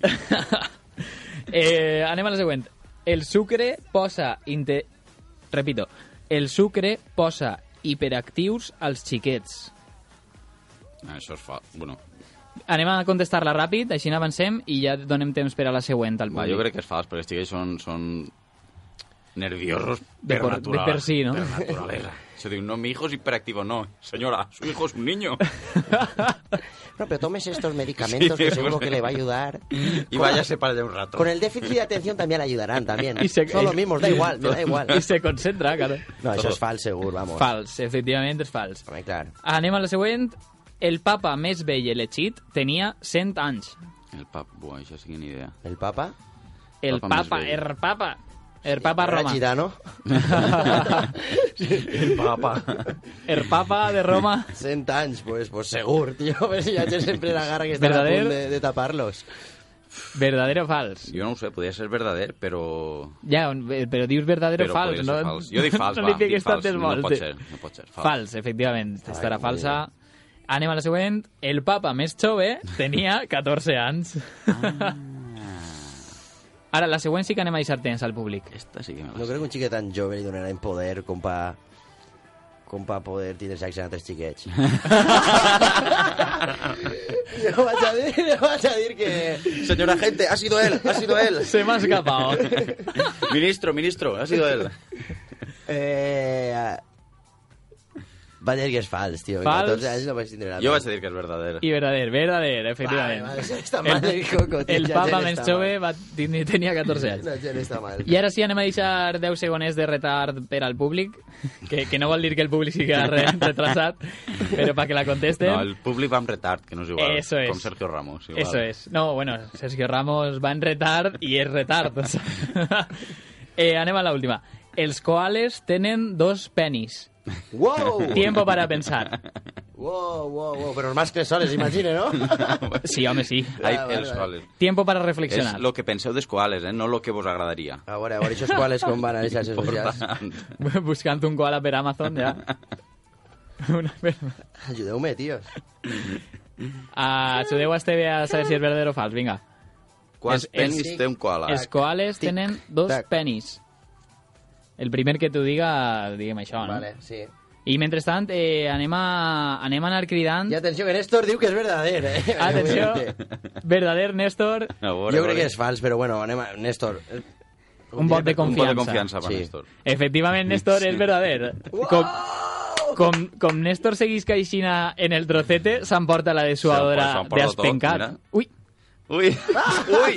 S3: Eh, anem a la següent. El sucre posa... Inte... Repito. El sucre posa hiperactius als xiquets.
S4: Ah, Això és fa... Bueno,
S3: Anem a contestar-la ràpid, així avancem i ja donem temps per a la següent al
S4: va,
S3: públic.
S4: jo crec que és fals, perquè els xiquets són, són nerviosos
S3: De
S4: per,
S3: por- de
S4: naturaleza.
S3: per sí, no?
S4: Per naturaleza. Això diu, no, mi hijo es hiperactivo. No, señora, su hijo es un niño.
S6: No, pero tomes estos medicamentos
S4: Sí,
S6: que seguro
S4: porque-
S6: que le va a ayudar.
S4: Y váyase para allá un rato.
S6: Con el déficit de atención también le ayudarán, también.
S3: [LAUGHS] I se-
S6: Son los mismos, da igual, me da igual.
S3: I se concentra, claro.
S6: No, eso es fals, seguro, vamos.
S3: Fals, efectivament és fals.
S6: Home, clar.
S3: Anem a la següent. El papa més vell elegit tenia 100 anys.
S4: El pap, buah, això sí que ni idea.
S6: El papa...
S3: El
S4: Papa
S3: papa, papa
S4: més vell.
S3: el papa, el papa
S6: Era
S3: Roma. [LAUGHS]
S6: gitano.
S4: El papa.
S3: El Er papa de
S4: [LAUGHS]
S3: Roma.
S6: 100 anys, pues, pues segur, tio. [LAUGHS] Però si hi ha gent sempre la garra que està a
S3: Verdader.
S6: punt de, de tapar-los.
S3: Verdadero o fals?
S4: Jo no ho sé, podria ser verdader, però...
S3: Ja, on- eh, però dius verdadero o
S4: Però
S3: fals,
S4: podria
S3: no?
S4: ser fals.
S3: [LAUGHS]
S4: Jo dic fals,
S3: no
S4: va,
S3: li peguis
S4: dic fals.
S3: tantes
S4: No
S3: voltes.
S4: pot ser, no pot ser, fals.
S3: Fals, efectivament. Estarà falsa. Anem a la següent. El papa més jove
S4: [LAUGHS]
S3: tenia 14 anys.
S4: Ah.
S3: Ara, la següent sí que anem a deixar temps al públic.
S4: [LAUGHS] Esta sí que me la
S6: No
S4: sé.
S6: crec que un xiquet tan jove li donaran poder com pa com pa poder tindre sexe amb altres xiquets. [LAUGHS] jo vaig a dir, jo vaig a dir que...
S4: Señora gente, ha sido él, ha sido él.
S3: Se m'ha escapat.
S4: [LAUGHS] ministro, ministro, ha sido él.
S6: Eh, va dir que és fals, tio. que
S3: Fals.
S6: 14 anys no vaig tindre la
S4: Jo vaig dir que és verdader.
S3: I verdader, verdader, efectivament.
S4: [LAUGHS]
S6: Vale, vale, està mal el coco, tio,
S3: el
S6: ja
S3: papa
S6: gent
S3: més
S6: està
S3: jove va, tenir- tenia 14 anys.
S6: La gent està mal.
S3: I ara sí, anem a deixar 10 segones de retard per al públic, que, que no vol dir que el públic sigui re- retrasat, però perquè la contesten...
S4: No, el públic va amb retard, que no és igual.
S3: Eso es.
S4: Com Sergio Ramos. Igual. [LAUGHS]
S3: Eso es. No, bueno, Sergio Ramos va en retard i és retard. [LAUGHS] O sea. eh, anem a l'última. Els koales tenen dos penis.
S6: Wow!
S3: Tiempo para pensar.
S6: Wow, wow, wow. Però els mascles soles, imagina, no?
S3: Sí, home, sí.
S4: Ai,
S6: Ah, vale,
S4: els
S6: vale.
S4: coales.
S3: Tiempo para
S4: És
S3: reflexionar. [LAUGHS]
S4: el que penseu dels coales, eh? no el que vos agradaria.
S6: A veure, a veure, això és qual és com van a les xarxes socials. [LAUGHS]
S3: Buscant un koala per Amazon, ja. Una per...
S6: Ajudeu-me, tios.
S3: Ah, Ajudeu a Esteve a saber si és verdadero o fals, vinga.
S4: Quants
S3: És-
S4: penis
S6: és-
S4: té un coala?
S3: Els koales
S6: tic,
S3: tenen dos
S6: tac.
S3: penis. El primer que t'ho diga, diguem això, no?
S6: Vale, sí.
S3: I mentrestant, eh, anem, a, anem a anar cridant...
S6: I atenció, que Néstor diu que és
S3: [LAUGHS]
S6: verdader, eh? [LAUGHS]
S3: Atenció, verdader Néstor,
S4: A veure,
S6: Jo
S4: a
S6: crec
S4: veure.
S6: que és fals, però bueno, anem a... Néstor... eh,
S3: un
S6: [LAUGHS]
S3: vot de
S4: Un poc
S3: confiança.
S4: de confiança per
S6: Sí.
S4: Néstor.
S3: Efectivament, Néstor és verdader. Com, com, com Néstor seguís caixina en el trocete, s'emporta la
S4: Se l'emporta-
S3: desuadora
S4: s'emporta tot,
S3: d'Espencat.
S4: mira.
S3: Ui, [LAUGHS]
S4: Uy, uy,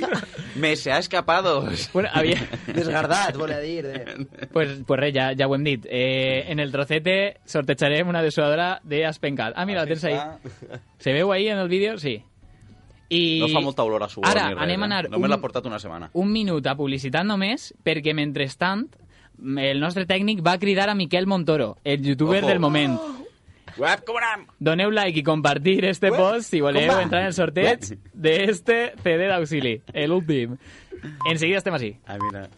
S4: me se ha escapado.
S3: Bueno, havia...
S6: Desgardat, volia dir. De...
S3: Pues, pues res, ja, ja ho hem dit. Eh, en el trocete sortejarem una dessuadora de Aspencat. Ah, mira, la tens ahí. Se veu ahí en el vídeo? Sí. I
S4: No fa molta olor a suor
S3: Ara,
S4: ni res.
S3: anem a
S4: eh?
S3: anar
S4: Només
S3: un-
S4: l'ha portat una setmana.
S3: un minut a publicitat només, perquè mentrestant el nostre tècnic va cridar a Miquel Montoro, el youtuber
S4: Ojo.
S3: del moment.
S4: Web cobram!
S3: Doneu like i compartir este post si voleu entrar en el sorteig d'este CD d'auxili, el últim. En seguida estem així. [LAUGHS]
S4: Ah, mira.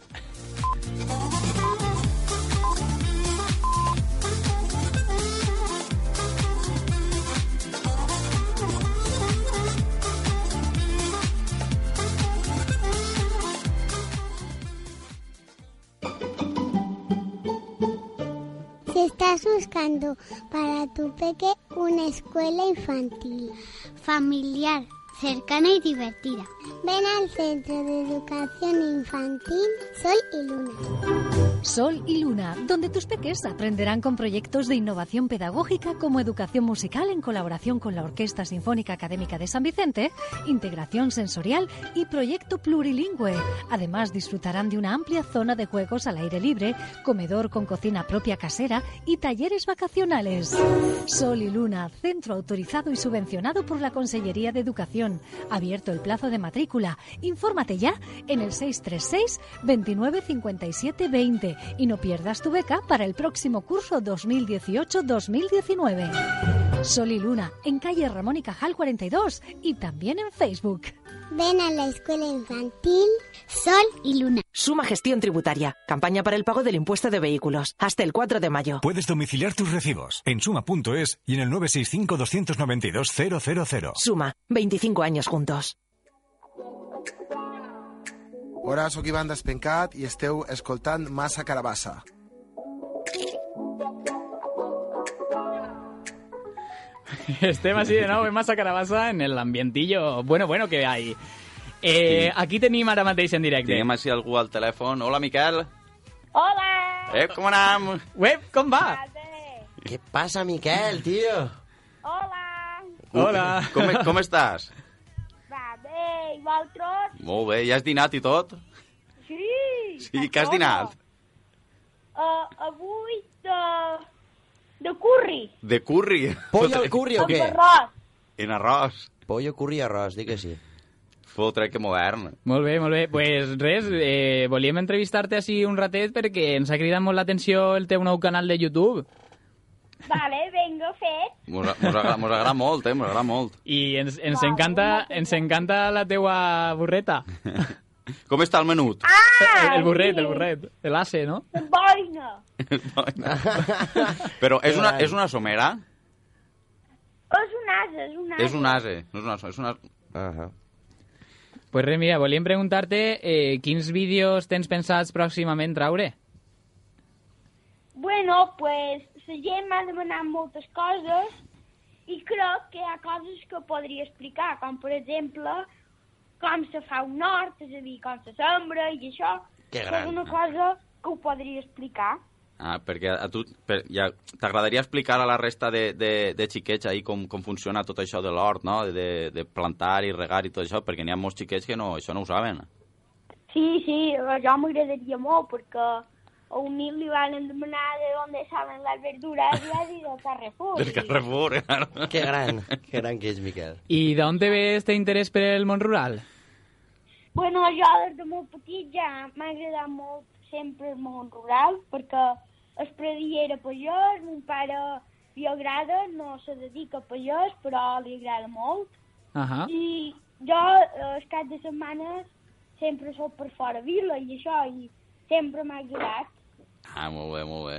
S11: Si estás buscando para tu peque una escuela infantil, familiar, cercana y divertida, ven al Centro de Educación Infantil Sol y Luna.
S8: Sol y Luna, donde tus peques aprenderán con proyectos de innovación pedagógica como educación musical en colaboración con la Orquesta Sinfónica Académica de San Vicente, integración sensorial y proyecto plurilingüe. Además, disfrutarán de una amplia zona de juegos al aire libre, comedor con cocina propia casera y talleres vacacionales. Sol y Luna, centro autorizado y subvencionado por la Consellería de Educación. Abierto el plazo de matrícula. Infórmate ya en el 636 29 57 20 y no pierdas tu beca para el próximo curso 2018-2019. Sol y Luna, en calle Ramón y Cajal 42 y también en Facebook.
S11: Ven a la escuela infantil Sol y Luna.
S12: Suma gestión tributaria. Campaña para el pago del impuesto de vehículos. Hasta el 4 de mayo.
S13: Puedes domiciliar tus recibos en suma.es y en el 965-292-000.
S12: Suma. 25 años juntos.
S9: Hola, sóc Ivan Despencat i esteu escoltant Massa Carabassa.
S3: Estem així de nou, en massa carabassa, en el ambientillo bueno, bueno que hay. Eh, aquí tenim ara mateix en directe.
S4: Diguem així algú al telèfon. Hola, Miquel.
S14: Hola,
S4: Eh, com anam?
S3: Web, com va?
S6: Què passa, Miquel, tio?
S4: Uh, Hola. Com, com estàs?
S14: va bé, i vosaltres?
S4: Molt bé, ja has dinat i tot?
S14: Sí!
S4: Sí, que has dinat?
S14: Uh, avui de... de curri.
S4: De curri.
S6: Pollo al curri o què?
S14: Amb arròs.
S4: En arròs.
S6: Pollo, curri i arròs, di que sí.
S4: Fotre, que modern.
S3: Molt bé, molt bé. pues res, eh, volíem entrevistar-te així un ratet perquè ens ha cridat molt l'atenció el teu nou canal de YouTube
S14: Vale, venga, fet.
S4: Mos, mos, agrada, mos agrada molt, eh? Mos agrada molt.
S3: i ens, ens, encanta, ens encanta la teua burreta.
S4: Com està el menut?
S3: El, el burret, el burret. L'ase, no?
S14: De boina.
S4: [LAUGHS] Però és una, és una somera?
S14: És un ase, és un ase.
S4: És un ase. No és una, som- és una... Uh -huh.
S3: Pues res, mira, volíem preguntar-te eh, quins vídeos tens pensats pròximament traure?
S14: Bueno, pues, la gent m'ha demanat moltes coses i crec que hi ha coses que podria explicar, com per exemple com se fa un hort, és a dir, com se sembra i això.
S4: Que
S14: Però
S4: gran.
S14: És una cosa que ho podria explicar.
S4: Ah, perquè a tu per, ja, t'agradaria explicar a la resta de, de, de xiquets ahir com, com funciona tot això de l'hort, no? De, de plantar i regar i tot això, perquè n'hi ha molts xiquets que no, això no ho saben.
S14: Sí, sí, a jo m'agradaria molt perquè a un nil li van demanar de on saben les verdures i va dir del Carrefour.
S4: Del Carrefour, eh, [LAUGHS] claro.
S6: Que gran, que gran que és, Miquel.
S3: I d'on te ve este interès per el món rural?
S14: Bueno, jo des de molt petit ja m'ha agradat molt sempre el món rural, perquè el predí era pagès, mon pare li agrada, no se dedica a pagès, però li agrada molt.
S4: Ah.
S3: Ahà.
S14: I jo, eh, els caps de setmana, sempre sóc per fora vila i això, i sempre m'ha agradat.
S4: Ah, molt bé, molt bé.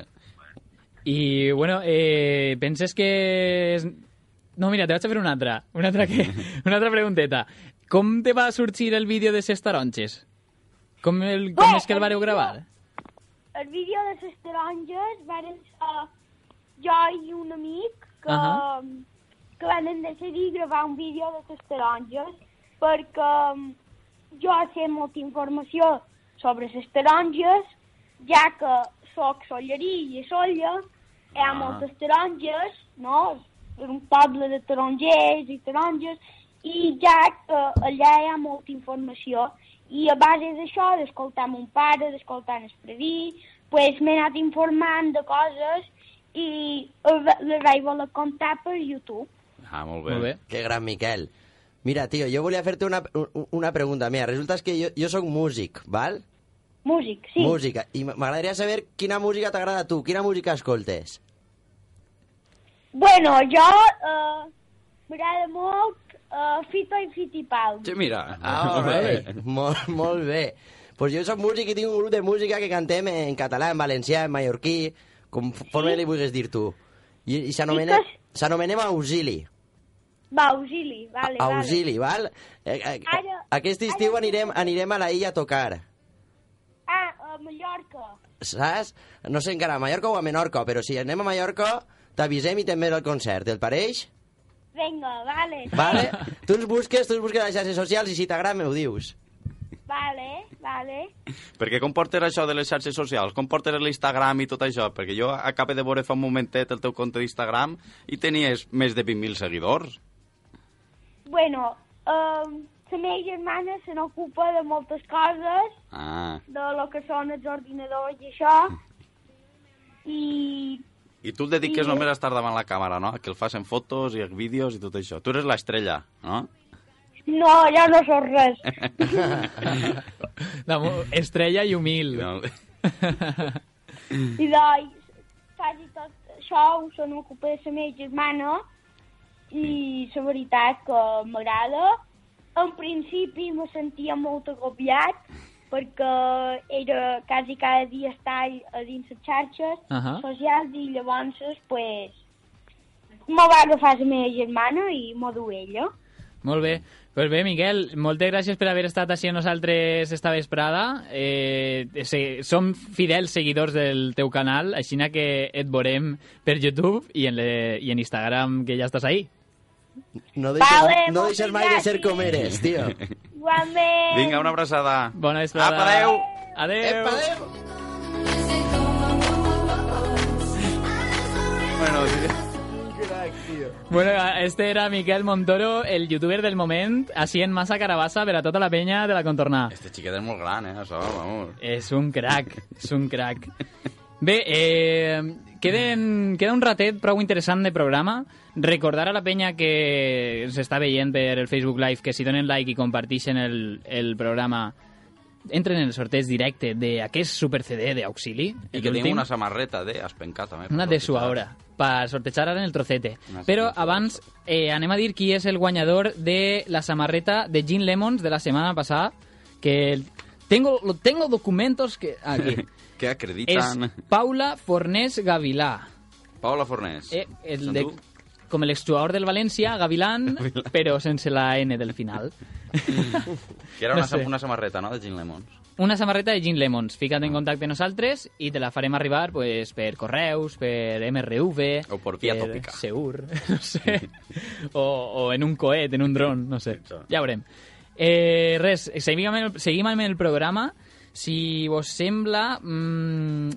S3: I, bueno, eh, penses que... És... No, mira, te vaig a fer una altra. Una altra, que... una altra pregunteta. Com te va sorgir el vídeo de ses taronges? Com, el, com és que el vareu gravar?
S14: El vídeo de les taronges varen ser jo i un amic que,
S3: Ahà.
S14: que van decidir gravar un vídeo de les taronges perquè mm, jo sé molta informació sobre les taronges, ja que sóc sollerí i a Solla hi ha
S15: Ah.
S14: moltes taronges, no? És un poble de tarongers i taronges, I ja que allà hi ha molta informació i a base d'això, d'escoltar mon pare, d'escoltar en Espreví, pues m'he anat informant de coses i les vaig voler contar per YouTube.
S4: Ah, molt
S6: bé. Qué gran Miquel. Mira, tío, yo volía hacerte una, u- una pregunta. Mira, resulta que yo, yo soy músic, ¿val?
S14: Músic, sí.
S6: Música. I m- m'agradaria saber quina música t'agrada a tu, quina música escoltes.
S14: Bueno, jo eh, m'agrada molt eh, Fito i Fitipaldi.
S4: Sí, mira.
S6: Ah, [LAUGHS] molt bé. molt, molt bé. Pues jo soc músic i tinc un grup de música que cantem en català, en valencià, en mallorquí, conforme li vulguis dir tu. I, i s'anomena- s'anomenem Auxili.
S14: Va, auxili, vale,
S6: Auxili, val? Eh, eh,
S14: Ara-
S6: Aquest estiu anirem, anirem a la illa a tocar.
S14: vale. Ah, a Mallorca.
S6: saps? No sé encara a Mallorca o a Menorca, però si anem a Mallorca t'avisem i també el concert, el pareix?
S14: Vinga, vale. [LAUGHS]
S6: Vale? tu ens busques, tu ens busques a les xarxes socials i si t'agrada ho dius.
S14: Vale, vale.
S4: Perquè com portes això de les xarxes socials? Com portes l'Instagram i tot això? Perquè jo acabé de veure fa un momentet el teu compte d'Instagram i tenies més de 20.000 seguidors.
S14: Bueno, eh, la meva germana se n'ocupa de moltes coses,
S4: Ah.
S14: de lo que són els ordinadors i això, i
S4: I tu et dediques
S14: Sí.
S4: només a estar davant la càmera, no? Que el fas en fotos i en vídeos i tot això. Tu eres l'estrella, no?
S14: no, jo no sóc res.
S3: Damo- Estrella i humil.
S4: No.
S14: I doncs, quasi tot això ho se n'ocupa de la meva germana, i la veritat que m'agrada. En principi me sentia molt agobiat, perquè era quasi cada dia estar a dins les xarxes,
S3: Ahà.
S14: socials i llavors pues, me va agafar la meva germana i m'ho du ella.
S3: Molt bé. Pues bé, Miquel, moltes gràcies per haver estat així amb nosaltres esta vesprada. Eh, se, som fidels seguidors del teu canal, així que et veurem per YouTube i en, le, i en Instagram, que ja estàs ahí.
S6: No
S3: deixes,
S14: Vale,
S3: no
S6: deixes mai de ser com eres, tio.
S14: Igualment.
S4: Vinga, una abraçada.
S3: Bona vesprada.
S4: Apa, adeu.
S3: Adeu.
S4: Epa, adeu. Bueno,
S3: Bueno, este era Miquel Montoro, el youtuber del moment, així en massa carabassa per a tota la penya de la contornada.
S4: Este xiquet és molt gran, eh, això, vamos.
S3: És un crac, és un crac. Bé, eh, queden, queda un ratet prou interessant de programa. Recordar a la penya que ens està veient per el Facebook Live que si donen like i comparteixen el, el programa entren en el sorteig directe d'aquest super CD d'Auxili.
S4: I que tinc una samarreta de Aspencat, també.
S3: Una de su ahora, para sortejar ahora en el trocete. Pero abans eh, anem a dir qui és el guanyador de la samarreta de Gin Lemons de la setmana passada, que el- tengo, lo tengo documentos que... Aquí.
S4: [LAUGHS] que
S3: és
S4: acrediten.
S3: Paula Fornés Gavilà.
S4: Paula Fornés.
S3: Eh, el
S4: Són
S3: de,
S4: tu?
S3: com l'exjugador del València,
S4: [LAUGHS]
S3: Gavilán, però sense la N del final.
S4: Que era una,
S3: no sé.
S4: sa- una samarreta, no?, de Gin Lemons.
S3: Una samarreta de Gin Lemons. Fica't en contacte amb nosaltres i te la farem arribar pues, per correus, per MRV... O
S4: per via tòpica.
S3: Seur, [LAUGHS] no sé. o, o en un coet, en un dron, no sé. Ja veurem. Eh, res, seguim amb, el, seguim amb el programa. Si vos sembla... Mmm,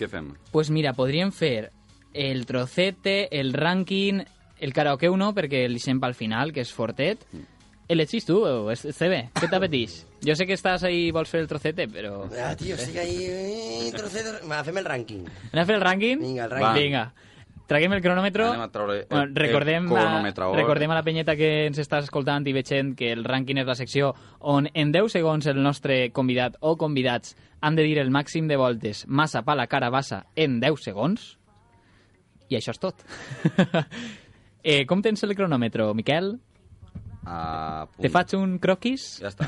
S4: Què fem?
S3: Pues mira, podríem fer el trocete, el rànquing, el karaoke no, perquè el deixem pel final, que és fortet.
S4: Mm.
S3: Elegis tu, o es- CB, què t'apeteix? Jo sé que estàs ahí, vols fer el trocete, però...
S6: Ah, tio, estic ahí... Eh, trocetos... Va, fem el rànquing.
S3: Anem a fer el rànquing?
S6: Vinga, el rànquing.
S3: Vinga. Traguem el cronòmetre.
S4: Anem a treure el-
S3: bueno, recordem,
S4: el cronòmetre,
S3: a, recordem a la penyeta que ens està escoltant i veient que el rànquing és la secció on en 10 segons el nostre convidat o convidats han de dir el màxim de voltes massa pa la cara bassa en 10 segons. I això és tot. eh, com tens el cronòmetre, Miquel?
S4: Ah, punt.
S3: Te faig un croquis? [LAUGHS]
S4: Ja està.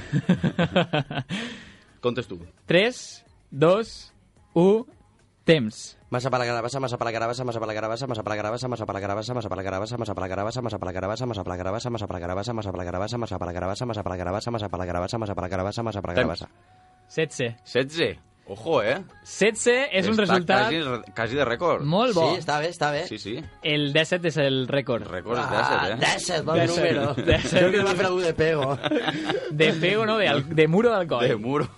S4: Comptes tu.
S3: 3, 2, 1, temps.
S6: Massa per la carabassa, massa per la carabassa, massa per la carabassa, massa per la carabassa, massa per la carabassa, massa per la carabassa, massa per la carabassa, massa per la carabassa, massa per la carabassa, massa per la carabassa, massa per la carabassa, massa per la carabassa, massa per la carabassa, massa per la carabassa, massa per la carabassa, massa per la carabassa, massa per la carabassa.
S3: 16.
S4: 16. Ojo, eh?
S3: 16 és un
S4: Està
S3: resultat...
S4: Quasi, quasi de rècord.
S3: Molt bo.
S6: Sí, està bé, està bé.
S4: Sí, sí.
S3: El 17 és el rècord.
S4: Rècord és
S6: Ah,
S4: 17, eh?
S6: 17, bon número. Creo que
S3: Dèsset.
S6: lo ha preguntado de pego.
S3: De pego, no, de, al- de muro d'Alcoi.
S4: De muro.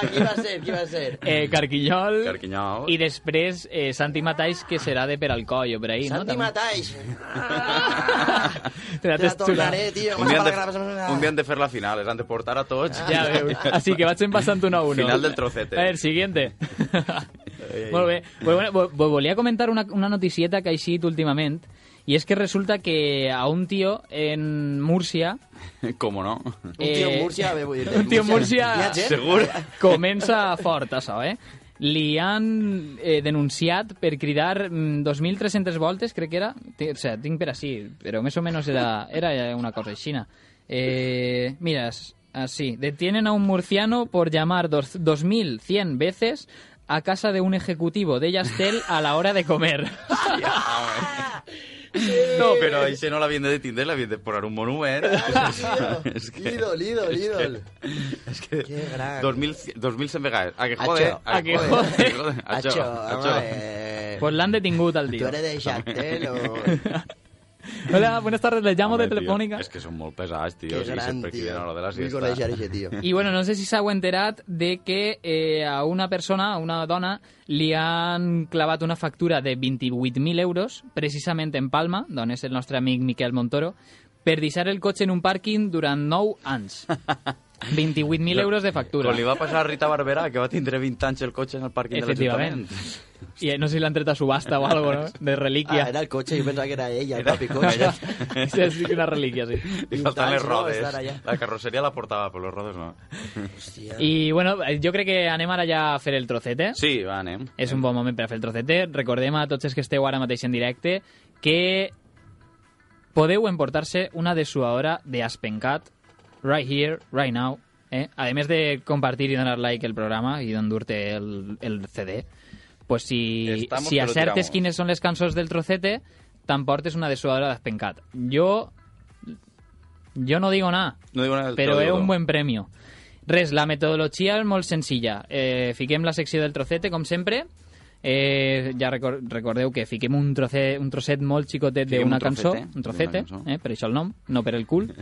S4: [LAUGHS]
S6: ¿qué iba a ser? ¿Qué iba a ser?
S3: Eh, Carquinyol.
S4: Carquinyol.
S3: I després eh, Santi Matais, que serà de Peralcoi o per ahí, [LAUGHS]
S6: Santi
S3: no?
S6: Matais.
S3: També.
S6: Te la
S3: t'has xulat.
S6: tornaré, tío.
S4: Un dia, han de, un dia han de fer la final, els han de portar a tots.
S3: Ja veus. Així que vaig empassant un a un.
S4: Final del trocete.
S3: A ver,
S4: [LAUGHS]
S3: siguiente. Molt bé. Bueno, bueno, vo- vo- volia comentar una, una noticieta que ha eixit últimament, i és que resulta que a un tío en Múrcia...
S4: [LAUGHS] Com
S3: [LAUGHS]
S4: no?
S6: Un tío en Murcia, bé, vull dir-te.
S3: Un tío en
S6: Hi
S3: Múrcia...
S6: ha gent? [LAUGHS]
S4: Segur.
S3: Comença fort, això, eh? Li han eh, denunciat per cridar mm, 2.300 voltes, crec que era. Té- O sigui, tinc per així, però més o menys era, era una cosa així. Eh, mira, s- así. Detienen a un murciano por llamar dos- 2.100 veces a casa de un ejecutivo de Yastel a la hora de comer.
S4: No, però això no l'havien de detindre, l'havien de posar un eh.
S6: [LAUGHS]
S4: monument. [LAUGHS] és
S6: Lidl, Lidl, Lidl.
S4: És que...
S6: Qué gran.
S4: 2.000 2.100 vegades. A que
S6: Això,
S4: jode.
S3: a que jode.
S4: Això,
S6: Això,
S4: això.
S6: home, eh,
S3: Pues l'han detingut al
S6: ¿Tú
S3: día.
S6: eres de Chactel o...?
S3: Hola, buenas tardes, les llamo de
S4: Home, tio,
S3: Telefónica.
S4: És que són molt pesats, tio.
S6: Qué
S4: sí,
S6: gran,
S4: sempre criden a l'hora de la
S6: tío. Vull
S4: siesta.
S6: conèixer aquest tio.
S3: Y bueno, no sé si s'heu enterat de que eh, a una persona, a una dona, li han clavat una factura de 28.000 euros, precisament en Palma, d'on és el nostre amic Miquel Montoro, per deixar el cotxe en un pàrquing durant 9 anys. 28.000 euros de factura.
S4: Quan li va passar a Rita Barberà, que va tindre 20 anys el cotxe en el pàrquing de l'Ajuntament.
S3: Efectivament. I eh, no sé si l'han tret a subhasta o algo, no? De relíquia.
S6: Ah, era el cotxe, jo pensava que era ella, el papi
S4: Ella-
S6: cotxe.
S3: [LAUGHS] Sí, és una relíquia, sí.
S4: Li faltan les
S6: Vintage, no,
S4: rodes.
S6: estar allà.
S4: La carrosseria la portava, però les rodes no.
S6: Hòstia.
S3: I, bueno, eh, jo crec que anem ara ja a fer el eh? trocete.
S4: Sí, va, anem.
S3: És un bon moment per a fer el trocete. Recordem a tots els que esteu ara mateix en directe que podeu emportar-se una dessuadora d'Aspencat right here, right now. Eh? A més de compartir i donar like al programa i d'endur-te el, el CD, pues si,
S4: Estamos
S3: si
S4: que lo
S3: acertes
S4: tiramos.
S3: quines són les cançons del trocete, t'emportes una dessuadora d'Aspencat. Jo... Jo no digo nada.
S4: No digo nada del
S3: Però
S4: todo,
S3: és
S4: digo.
S3: un bon premi. Res, la metodologia és molt senzilla. Eh, fiquem la secció del trocete, com sempre. Eh, ja recor recordeu que fiquem un, troce un trosset molt xicotet
S4: Fiquem
S3: d'una
S4: un
S3: cançó,
S4: trocete,
S3: un trocete,
S4: d'una cançó.
S3: eh, per això el nom, no per el
S4: [LAUGHS]
S3: cul,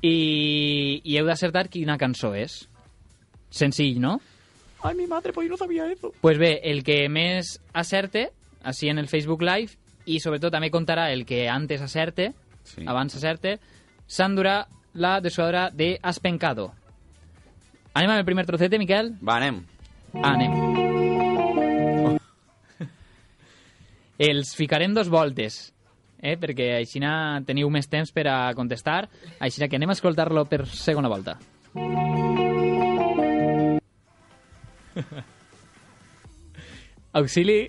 S3: i, i heu d'acertar quina cançó és. Senzill, no?
S4: Ay, mi madre, pues yo no sabía eso.
S3: Pues bé, el que més acerte, així en el Facebook Live, i sobretot també contarà el que antes acerte,
S4: Sí.
S3: abans acerte, s'endurà la dessuadora de Aspencado. Anem amb el primer trocete, Miquel?
S4: Va, anem.
S3: Anem. Oh. Els ficarem dos voltes, eh? perquè així teniu més temps per a contestar, així que anem a escoltar-lo per segona volta. [LAUGHS] Auxili,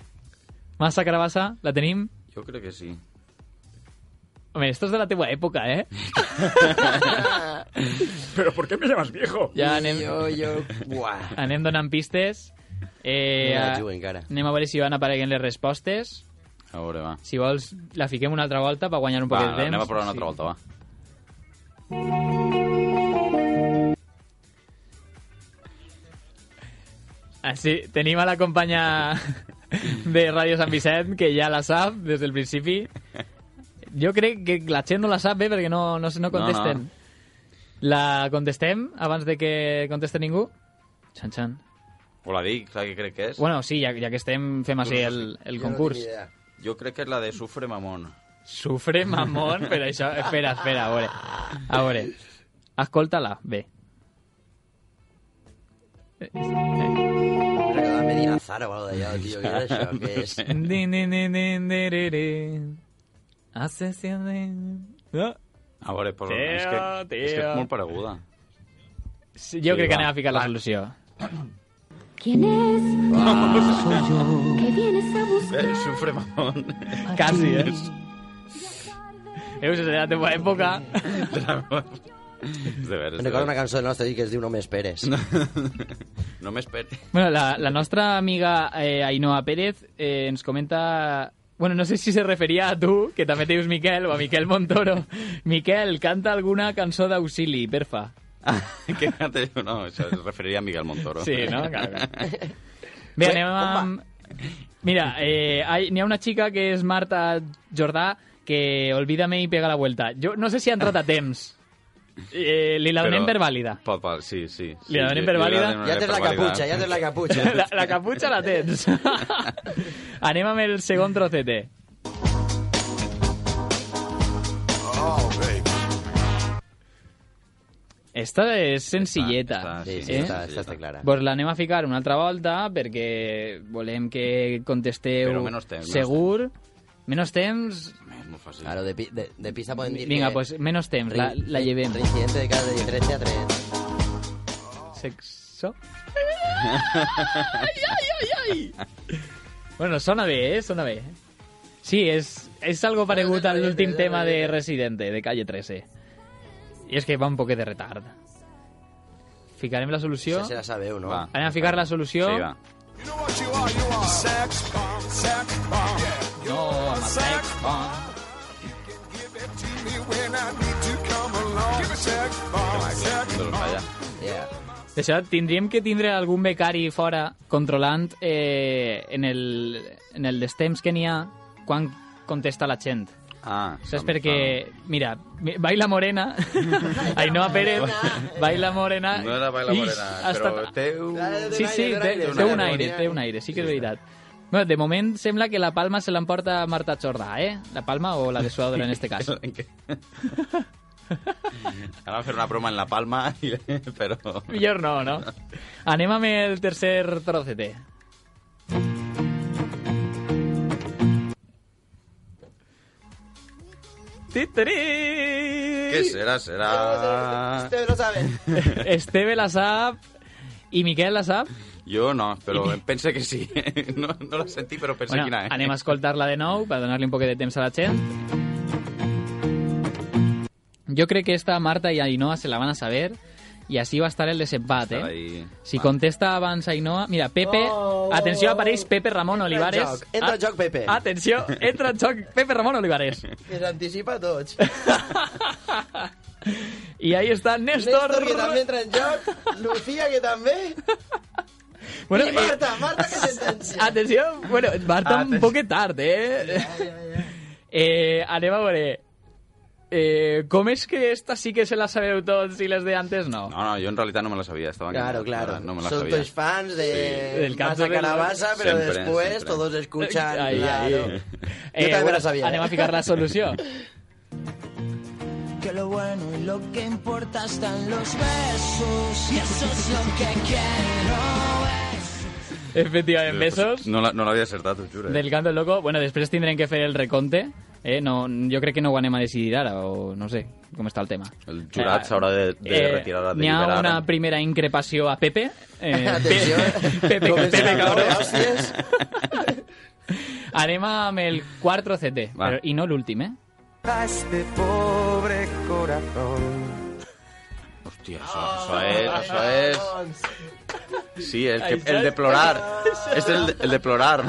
S3: massa carabassa, la tenim?
S4: Jo crec que sí.
S3: Home, esto es de la teua època, eh?
S13: ¿Pero por qué me llamas viejo?
S3: Ja anem,
S6: Jo, jo... Buah.
S3: anem donant pistes. Eh,
S6: No la jugo encara.
S3: anem a veure si van apareguent les respostes.
S4: A veure, va.
S3: Si vols, la fiquem una altra volta per guanyar un
S4: Va,
S3: poquet de temps.
S4: anem a provar una altra volta, va.
S3: Ah, sí, tenim a la companya de Ràdio Sant Vicent, que ja la sap des del principi. Jo crec que la gent no la sap bé perquè no, no, no contesten.
S4: No,
S3: La contestem abans de que conteste ningú? Xan, xan.
S4: O la dic, clar que crec que és.
S3: Bueno, sí, ja, ja que estem, fem així el, el concurs.
S6: Jo no tinc idea.
S4: Jo crec que és la de Sufre Mamón.
S3: Sufre mamón, però això... Espera, espera, a veure. A veure. Escolta-la, bé. Eh,
S6: Era que va venir Azar o algo d'allò, tio. Què era això? Què és?
S3: Ni, ni, ni, ni, ni, ni, ni. Asesiné. Ah.
S4: A veure, però
S3: Tio,
S4: és, que, és que
S3: tio.
S4: és molt pareguda.
S3: Sí, jo
S4: Sí,
S3: crec que
S4: va.
S3: anem a ficar la solució.
S15: ¿Quién es? ¿Qué vienes a
S4: Eh,
S15: buscar?
S4: sufre Mamón.
S3: [LAUGHS] Quasi, eh? Heus, és de la teva època.
S4: És de veres, de
S6: Em recordo
S4: veres.
S6: una cançó nostra que es diu No m'esperes.
S4: No [LAUGHS] m'esperi.
S3: Bueno, la, la nostra amiga eh, Ainhoa Pérez eh, ens comenta... Bueno, no sé si se referia a tu, que també te dius Miquel, o a Miquel Montoro. Miquel, canta alguna cançó d'auxili, perfa.
S4: [LAUGHS] que antes, no, això es referiria a Miguel Montoro.
S3: Sí, no? Claro. Bé, anem amb... Mira, eh, hay- n'hi ha una xica que és Marta Jordà que olvida-me i pega la vuelta. Jo no sé si ha entrat a temps. Eh, li la donem per vàlida.
S4: Pa, pa, Pues, sí, sí. sí
S3: Li la donem
S4: jo-
S3: per
S4: jo
S3: vàlida.
S4: donaré
S6: Ja tens
S4: per
S6: la
S4: vàlida.
S6: caputxa, ja tens la
S3: [LAUGHS]
S6: caputxa.
S3: [LAUGHS] La, la caputxa la tens. [LAUGHS] Anem amb el segon trocete. Esta Eh? és senzilleta.
S6: sí, sí, està- està- està clara.
S3: Pues l'anem a ficar una altra volta perquè volem que contesteu
S6: Però menos temps, menos
S3: segur. Menos temps.
S4: Molt fàcil.
S6: Claro, de, pi, de, de pista podem dir
S3: Vinga,
S6: que...
S3: pues menos temps, la,
S6: Re-
S3: la llevem.
S6: Reincidente de cada de 13 a 3.
S3: Sexo. Bueno, sona bé, eh? Sona bé. Sí, és, és algo paregut a l'últim tema de Residente, de Calle 13. I és que va un poquet de retard. Ficarem la solució.
S6: Això se la sabeu, no?
S3: Anem a ficar la solució.
S6: Sí, va.
S3: No, home, sex bomb.
S6: Yeah.
S3: Això tindríem que tindre algun becari fora controlant eh, en, el, en el dels temps que n'hi ha quan contesta la gent.
S4: Ah,
S3: Saps? Perquè, mira, mi- Baila [LAUGHS] Morena, Ainhoa Pérez, Baila Morena...
S4: No era Baila
S3: Ix,
S4: Morena, uh,
S3: ha
S4: però
S3: estat-
S4: té un-
S3: Sí, sí, té, té un aire, té un aire, sí que és veritat. Bueno, de moment sembla que la palma se l'emporta Marta Jordà, eh? La palma o la de suadora en este
S4: [LAUGHS]
S3: cas.
S4: Ara va fer una broma en la palma, i- però...
S3: Millor no, no? Anem amb el tercer trocete.
S4: ¿Qué será? Será...
S6: Ustedes lo saben.
S3: Esteve la sap i Miquel la sap.
S4: Jo no, però pense que sí. [LAUGHS] No, no la sentí, però pense
S3: Bueno, ¿eh?
S4: quina ¿eh? és.
S3: anem a escoltar-la de nou per donar-li un poquet de temps a la gent. Jo crec que esta Marta i Ainhoa se la van a saber i així va estar el desempat,
S4: Estarà
S3: eh?
S4: ahí.
S3: Si contesta abans Ainhoa... Mira, Pepe...
S6: Oh, oh,
S3: atenció,
S6: oh.
S3: apareix Pepe Ramon
S6: Entra en
S3: Olivares.
S6: joc, entra en
S3: Ah,
S6: joc, Pepe.
S3: Atenció, entra en joc Pepe Ramon Olivares.
S6: Que s'anticipa a tots.
S3: I ahí està Néstor...
S6: Néstor, que també entra en joc. Lucía, que també.
S3: Bueno, eh,
S6: I Marta, Marta, que sentència.
S3: Atenció, bueno, Marta un poquet tard, eh? eh anem a veure... Eh, com és que esta sí que se la sabeu tots i les de antes no?
S4: No, no, jo en realitat no me la sabia. Estava
S6: Claro,
S4: enganxat,
S6: claro.
S4: No me la
S6: Son
S4: sabia.
S6: tus fans de
S4: Sí. Del
S6: Masa
S4: Canto del-
S6: Calabaza, pero
S4: Siempre,
S6: después
S4: siempre.
S6: todos escuchan.
S3: Ahí, ahí. Eh,
S6: claro. [LAUGHS] Yo también
S3: bueno,
S6: la sabía. ¿eh?
S3: Anem a ficar la solució.
S5: Que lo bueno y lo que importa están los besos. Y eso es lo que quiero. eh.
S3: Efectivament, besos.
S4: pues, No la- no l'havia acertat, ho juro. eh?
S3: Del canto loco. Bueno, després tindrem que fer el recompte. Eh, no, jo crec que no ho anem a decidir ara, o no sé com està el tema.
S4: El jurat
S3: Ah,
S4: s'haurà de, de retirar a
S3: N'hi ha
S4: deliberar.
S3: eh, una primera increpació a Pepe.
S6: [LAUGHS]
S3: Eh,
S4: Atenció,
S3: Pe- [LAUGHS] Pepe, Pepe,
S4: comença a
S3: cabrón.
S4: caure hòsties.
S3: Anem amb el quart CT,
S4: Va.
S3: però, i no l'últim, eh?
S5: A este pobre corazón.
S3: Ah.
S4: Hòstia, això, això és... Això és... Sí, el, que, el de plorar.
S3: [LAUGHS]
S4: Este és el de, el de plorar.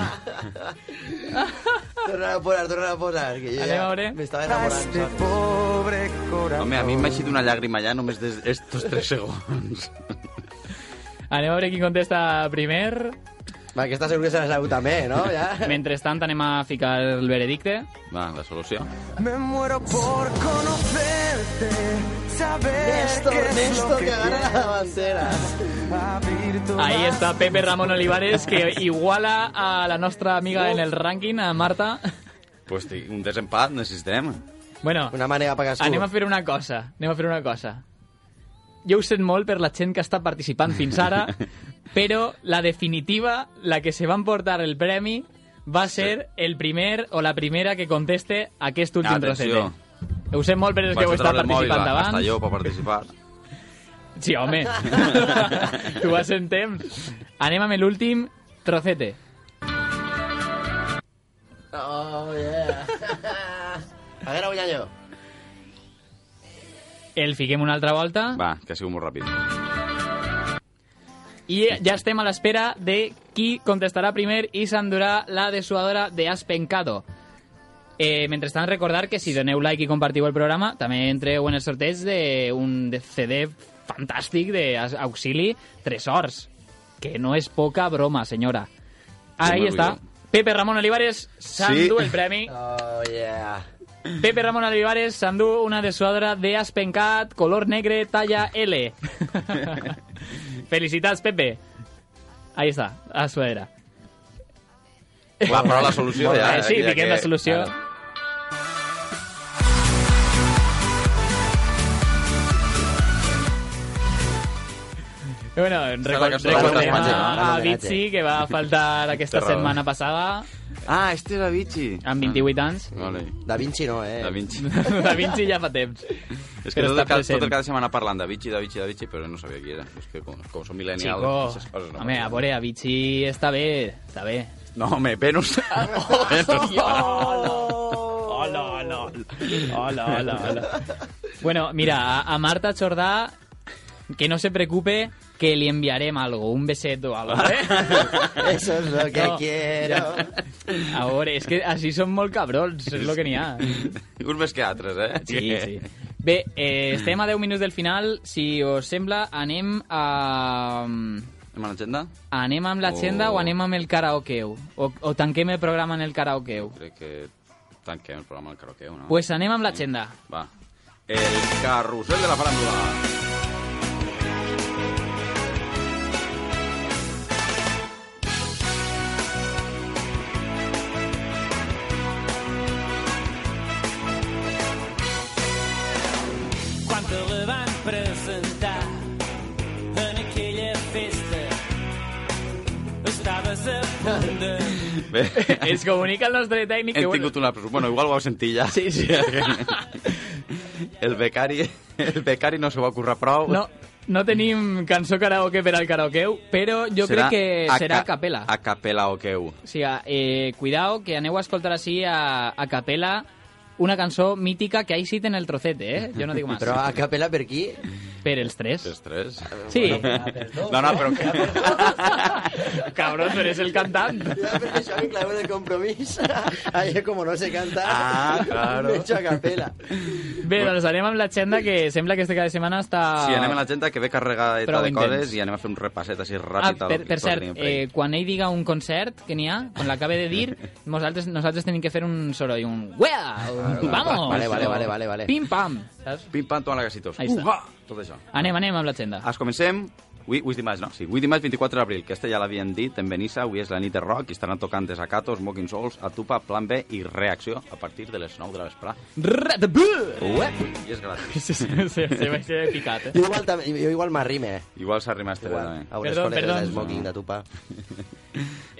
S6: Torna a posar, torna a posar. Que jo
S4: Anem
S6: ja
S4: a veure.
S6: m'estava enamorant.
S5: Este pobre corazón.
S4: Home, a mi m'ha eixit una llàgrima ja només des estos 3 segons.
S3: Anem a veure qui contesta primer.
S6: Va, que està segur que se la sabut també, no? Ja.
S3: Mentrestant anem a ficar el veredicte.
S4: Va, la solució.
S5: Me muero por conocerte, saber
S6: Néstor,
S5: qué es
S6: Néstor,
S5: lo
S6: que
S5: que
S6: agarra la bandera.
S3: Ahí está Pepe Ramón Olivares, que iguala a la nostra amiga en el ranking, a Marta.
S4: Pues té un desempat necessitarem.
S3: Bueno,
S6: Una manera per cadascú.
S3: anem a fer una cosa, anem a fer una cosa. Jo ho sent molt per la gent que està participant fins
S4: [LAUGHS]
S3: ara, però la definitiva, la que se va emportar el premi, va ser el primer o la primera que conteste aquest últim trosset.
S4: Atenció.
S3: Ho sent molt per els que heu
S4: Vaig a
S3: estat
S4: treure el mòbil,
S3: participant
S4: va,
S3: abans.
S4: Hasta jo per participar.
S3: Sí,
S4: [LAUGHS]
S3: home. tu vas en temps. Anem amb l'últim trocete.
S6: Oh, yeah. [LAUGHS] A veure, guanyar jo.
S3: El fiquem una altra volta.
S4: Va, que ha sigut molt ràpid.
S3: I ja estem a l'espera de qui contestarà primer i s'endurà la desuadora de Aspencado. Eh, mentrestant, recordar que si doneu like i compartiu el programa, també entreu en el sorteig d'un CD fantàstic d'Auxili Tresors, que no és poca broma, senyora. Ahí
S4: me
S3: està. Pepe Ramon Olivares s'endú
S4: Sí.
S3: el premi.
S6: Oh, yeah.
S3: Pepe Ramon Olivares s'endú una dessuadora d'Aspencat, color negre, talla
S4: [LAUGHS]
S3: L. Felicitats, Pepe. Ahí està, a la suadera.
S4: Va,
S3: [LAUGHS]
S4: però la solució
S3: Molt
S4: ja...
S3: bé, Eh, sí,
S4: ja
S3: fiquem
S4: que-
S3: la solució.
S4: Ara.
S3: I Bueno,
S4: Serà la
S3: record,
S4: que surt a
S3: recordem
S4: l'homenatge, no?
S3: a, a
S4: L'homenatge.
S3: Bitsi, que va
S4: [LAUGHS]
S3: faltar aquesta
S4: Té raó.
S3: setmana passada.
S4: Ah, este era Vichy.
S3: Amb 28 anys. [LAUGHS]
S4: Vale.
S6: Da Vinci no, eh?
S4: Da Vinci.
S3: Da Vinci ja fa temps.
S4: És que
S3: Però
S4: tot,
S3: està
S4: el, ca-
S3: present.
S4: tot el cada setmana parlant de Vichy, de Vichy, de Vichy, però no sabia qui era. És que com, com som millennials, aquestes
S3: Chico,
S4: coses no.
S3: home, a veure, a Bitsi està bé, està bé.
S4: No, home, Venus.
S3: [LAUGHS]
S6: Oh.
S3: Hola, hola, hola, hola, hola. Bueno, mira, a, a Marta Chordá, que no se preocupe, que le enviarem algo, un beset o algo,
S6: [LAUGHS]
S3: ¿eh?
S6: [LAUGHS] Eso es lo que quiero.
S3: A veure, és que així són molt cabrons, és el que n'hi ha.
S4: Uns més que altres, eh?
S3: Sí, sí. Bé, eh, estem a 10 minuts del final. Si us sembla, anem a...
S4: Anem a l'agenda?
S3: Anem amb l'agenda
S4: O-
S3: o... o anem amb el karaokeu? O, o tanquem el programa en el karaokeu?
S4: Crec que tanquem el programa del karaokeu, no?
S3: Pues anem amb l'agenda.
S4: Va. El carrusel de la faràndula.
S16: quan te la van presentar en aquella festa estaves a punt
S3: [LAUGHS]
S16: de
S4: Bé,
S3: Ens comunica el nostre tècnic que...
S4: hem tingut una... Bueno, igual ho vau sentir ja. Sí, sí. [LAUGHS] El becari, el becari no s'ho va currar prou.
S3: No, no tenim cançó karaoke per al karaokeu, però jo
S4: Serà
S3: crec que
S4: a
S3: serà a
S4: ca-
S3: capella.
S4: A capella o queu.
S3: O sigui, eh, cuidao, que aneu a escoltar així a, a capella una cançó mítica que ahí sí en el trocete, eh? Jo no
S4: [LAUGHS]
S3: dic més.
S6: Però a capella per qui?
S3: Per els tres.
S4: Els tres?
S3: Sí.
S4: [LAUGHS] No, no, però...
S3: Cabrón, eres el cantant.
S6: Ja, perquè això em clavo de compromís. Ahí, como no sé cantar,
S4: Ah, claro.
S6: [LAUGHS] me echo a capella.
S3: Bé, doncs anem amb l'agenda, que sembla que este cada setmana està...
S4: Sí, anem a l'agenda que ve carregada
S3: Ah. Prou
S4: de
S3: intens.
S4: coses i anem a fer un repasset així
S3: Ah,
S4: ràpid.
S3: per, per cert, eh, quan ell diga un concert que n'hi ha, quan l'acabe de
S4: [LAUGHS]
S3: dir, nosaltres, nosaltres tenim que fer un soroll, un uea, un vamos,
S4: Ah, Vale, vale,
S3: o
S4: vale, vale, vale.
S3: pim-pam, saps?
S4: Pim-pam, toma la gasitos.
S3: Ahí està.
S4: Uva! Tot això.
S3: Anem, anem amb l'agenda.
S4: Es comencem... Avui, 8 dimarts, no? Sí, 8 dimarts, 24 d'abril. Aquesta ja l'havien dit en Benissa. Avui és la nit de rock i estaran tocant Desacato, Smoking Souls, Atupa, Plan B i Reacció a partir de les 9 de la vesprà.
S3: Red Bull!
S4: Uep! I és gratis.
S3: [LAUGHS] Sí, sí, sí, sí, vaig ser picat, eh.
S4: [LAUGHS]
S6: Jo igual, tam- jo igual m'arrime, eh?
S4: Igual eh? s'arrima este
S6: Igual.
S4: també.
S6: A unes
S3: Perdón,
S6: col·legues
S3: perdón.
S6: de smoking de tupa.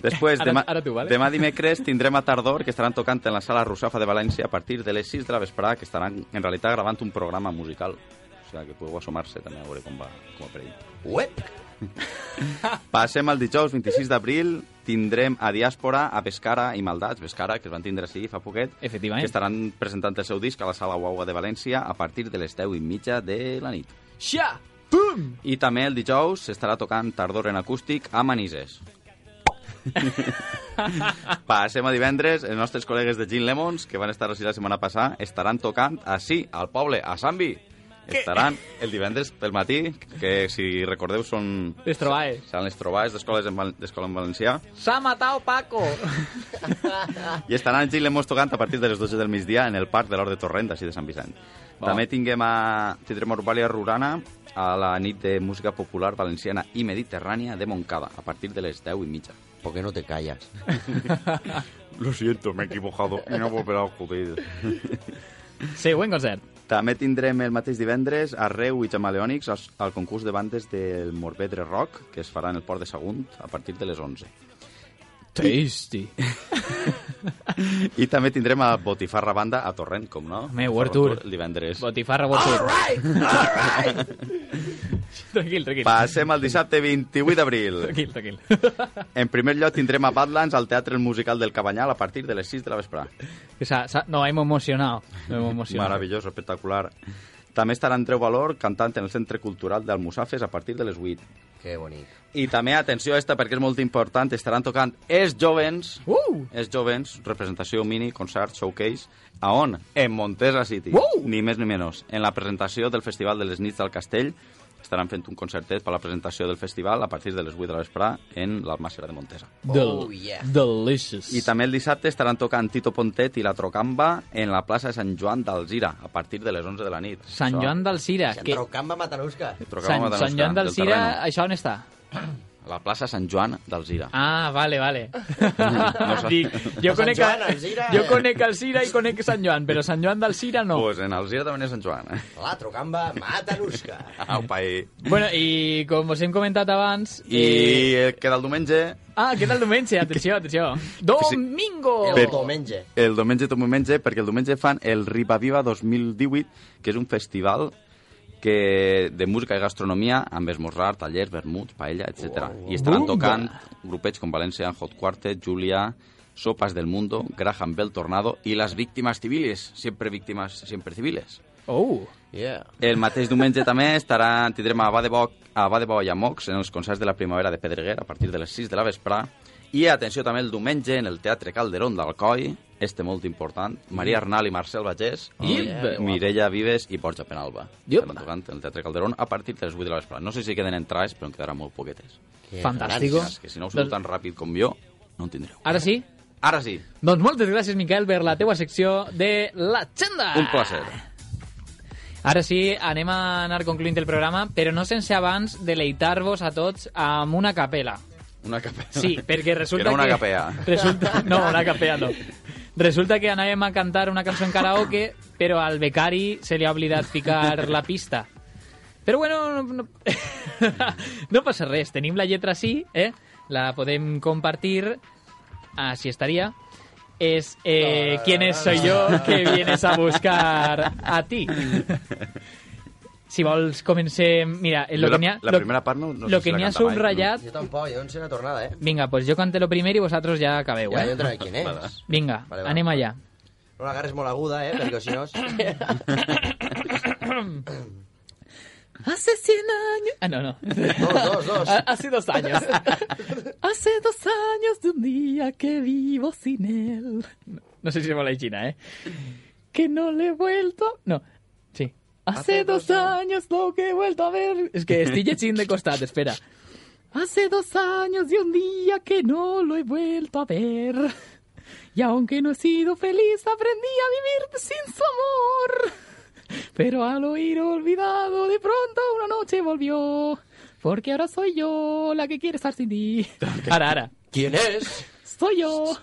S4: Després,
S3: Ara-
S4: demà,
S3: ara tu, vale?
S4: demà dimecres tindrem a Tardor, que estaran tocant en la sala Russafa de València a partir de les 6 de la vesprada, que estaran en realitat gravant un programa musical. O sigui, que podeu assomar-se també a veure com va, com va per ell.
S6: Uep!
S4: [LAUGHS] Passem al dijous 26 d'abril, tindrem a Diàspora, a Pescara i Maldats, Pescara, que es van tindre així fa poquet,
S3: Efectivament.
S4: que estaran presentant el seu disc a la sala Guagua de València a partir de les 10 i mitja de la nit.
S3: Xa! Pum!
S4: I també el dijous s'estarà tocant Tardor en acústic a Manises. Passem a divendres, els nostres col·legues de Gin Lemons, que van estar així la setmana passada, estaran tocant així, al poble, a Sambi. Estaran el divendres pel matí, que si recordeu són...
S3: Les trobades.
S4: Seran les trobades d'escoles en, val- d'escola en valencià.
S3: S'ha matat
S4: [LAUGHS]
S3: Paco!
S4: I estaran el Gin Lemons tocant a partir de les 12 del migdia en el parc de l'Hort de Torrent, així de Sant Vicent.
S3: Va.
S4: També tinguem a, tindrem a Urbalia Rurana a la nit de música popular valenciana i mediterrània de Montcada, a partir de les 10 i mitja.
S6: ¿Por qué no te callas?
S4: [LAUGHS] Lo siento, me he equivocado y no volverá a ocurrir.
S3: Següent concert.
S4: També tindrem el mateix divendres a Reu i Jamaleònics als- al concurs de bandes del Morvedre Rock, que es farà en el Port de Sagunt a partir de les 11.
S3: Tasty.
S4: I també tindrem a Botifarra Banda a Torrent, com no?
S3: Home, World Tour.
S4: El divendres.
S3: Botifarra, botifarra. All right! All right! [LAUGHS] tranquil, tranquil.
S4: Passem al dissabte 28 d'abril.
S3: Tranquil, tranquil.
S4: En primer lloc tindrem a Badlands al Teatre El Musical del Cabanyal a partir de les 6 de la vesprada.
S3: Que s'ha- s'ha- no, hem emocionat. No,
S4: [LAUGHS]
S3: hem emocionat.
S4: Meravellós, espectacular. També estarà Andreu Valor cantant en el Centre Cultural del Musafes a partir de les 8.
S6: Qué bonito.
S4: I també, atenció a esta, perquè és molt important, estaran tocant Els Jovens,
S3: Uh!
S4: Els Jovens, representació mini, concert, showcase, a on? En Montesa City,
S3: Uh!
S4: ni més ni menys, en la presentació del Festival de les Nits del Castell, estaran fent un concertet per la presentació del festival a partir de les 8 de l'espre en l'Almàssera de Montesa.
S3: Del- Delicious.
S4: I també el dissabte estaran tocant Tito Pontet i la Trocamba en la plaça de Sant Joan d'Alzira a partir de les 11 de la nit.
S3: Sant Joan d'Alcira. Que...
S6: Trocamba Matarusca.
S3: Sant,
S4: Trocamba de
S3: Sant
S4: Nostra,
S3: Joan
S4: del
S3: d'Alcira,
S4: terreno.
S3: això on està?
S4: A la plaça Sant Joan d'Alzira.
S3: Ah, vale,
S4: [LAUGHS]
S3: vale.
S4: sé.
S3: Dic, jo,
S4: Sant
S3: conec
S4: Joan,
S3: a,
S4: Alzira.
S3: jo conec Alcira i conec Sant Joan, però Sant Joan d'Alcira no.
S4: Pues en Alzira també és Sant Joan, eh?
S6: La Trocamba [LAUGHS] Matarusca.
S3: Ah,
S4: Apa, i...
S3: Bueno, i com us hem comentat abans...
S4: I eh, queda el diumenge...
S3: Ah, què tal
S4: [LAUGHS]
S3: diumenge? Atenció, atenció. Domingo!
S6: Oh.
S4: Per- El diumenge tot diumenge, perquè el diumenge fan el Ripaviva 2018, que és un festival que de música i gastronomia amb esmorzar, tallers, vermuts, paella, etc. I estaran
S3: Bomba!
S4: tocant grupets com València, Hot Quartet, Julia, Sopas del Mundo, Graham Bell Tornado i les víctimes civiles, sempre víctimes, sempre civiles.
S3: Oh!
S6: Yeah.
S4: El mateix diumenge també estaran, tindrem a Badeboc, a Badeboc i a Mox en els concerts de la primavera de Pedreguer a partir de les 6 de la vesprà. I atenció també el diumenge en el Teatre Calderón d'Alcoi, este molt important, Maria Arnal i Marcel Bagés, i
S3: Iep.
S4: Mireia Vives i Borja Penalba.
S3: Iep.
S4: Estaran tocant en el Teatre Calderón a partir de les 8 de la vesprà. No sé si queden entrades, però en quedaran molt poquetes.
S3: Que Fantàstico. gràcies,
S4: Que si no us surt tan ràpid com jo, no en tindreu.
S3: Ara sí?
S4: Ara sí,
S3: Doncs moltes gràcies, Miquel, per la teua secció de l'agenda.
S4: un plaer.
S3: Ara sí, anem a anar concluint el programa, però no sense abans deleitar-vos a tots amb una capela.
S4: Una capea.
S3: Sí, perquè resulta
S4: que... Era una
S3: que-
S4: capea.
S3: Resulta... No, una capea no. Resulta que anàvem a cantar una cançó en karaoke, però al becari se li ha oblidat ficar la pista. Però bueno, no, no, [LAUGHS] no passa res. Tenim la lletra sí, eh? La podem compartir. Així estaria. És eh, ¿Quién soy yo que vienes a buscar a ti? Si vols, comencem... Mira, eh, lo
S4: Jo la-
S3: que n'hi ha...
S4: la
S3: lo-
S4: primera part no- no
S3: lo
S4: sé si
S3: que
S4: la
S3: n'hi ha
S4: canta mai.
S3: subratllat...
S6: Jo tampoc, jo no sé la tornada, eh?
S3: Vinga, pues yo canté lo primero y vosotros ya acabeu,
S6: Ja,
S3: eh?
S6: jo trec quin és.
S3: Vinga,
S6: Vale, va.
S3: anem allà.
S6: No l'agarres molt aguda, eh? Perquè si no...
S3: [LAUGHS] Hace 100 años... Ah, no, no.
S6: Dos, dos,
S3: [LAUGHS]
S6: dos.
S3: Ha- Hace dos años. Hace dos años de un día que vivo sin él. No sé si se mola China, ¿eh? Que no le he vuelto... No, sí. Hace, dos, años lo que he vuelto a ver... Es que estoy chin de costado, espera. Hace dos años de un día que no lo he vuelto a ver. Y aunque no he sido feliz, aprendí a vivir sin su amor. Pero al oír olvidado, de pronto una noche volvió. Porque ahora soy yo la que quiere estar sin ti. Ara, ara.
S6: ¿Quién es?
S3: Soy yo.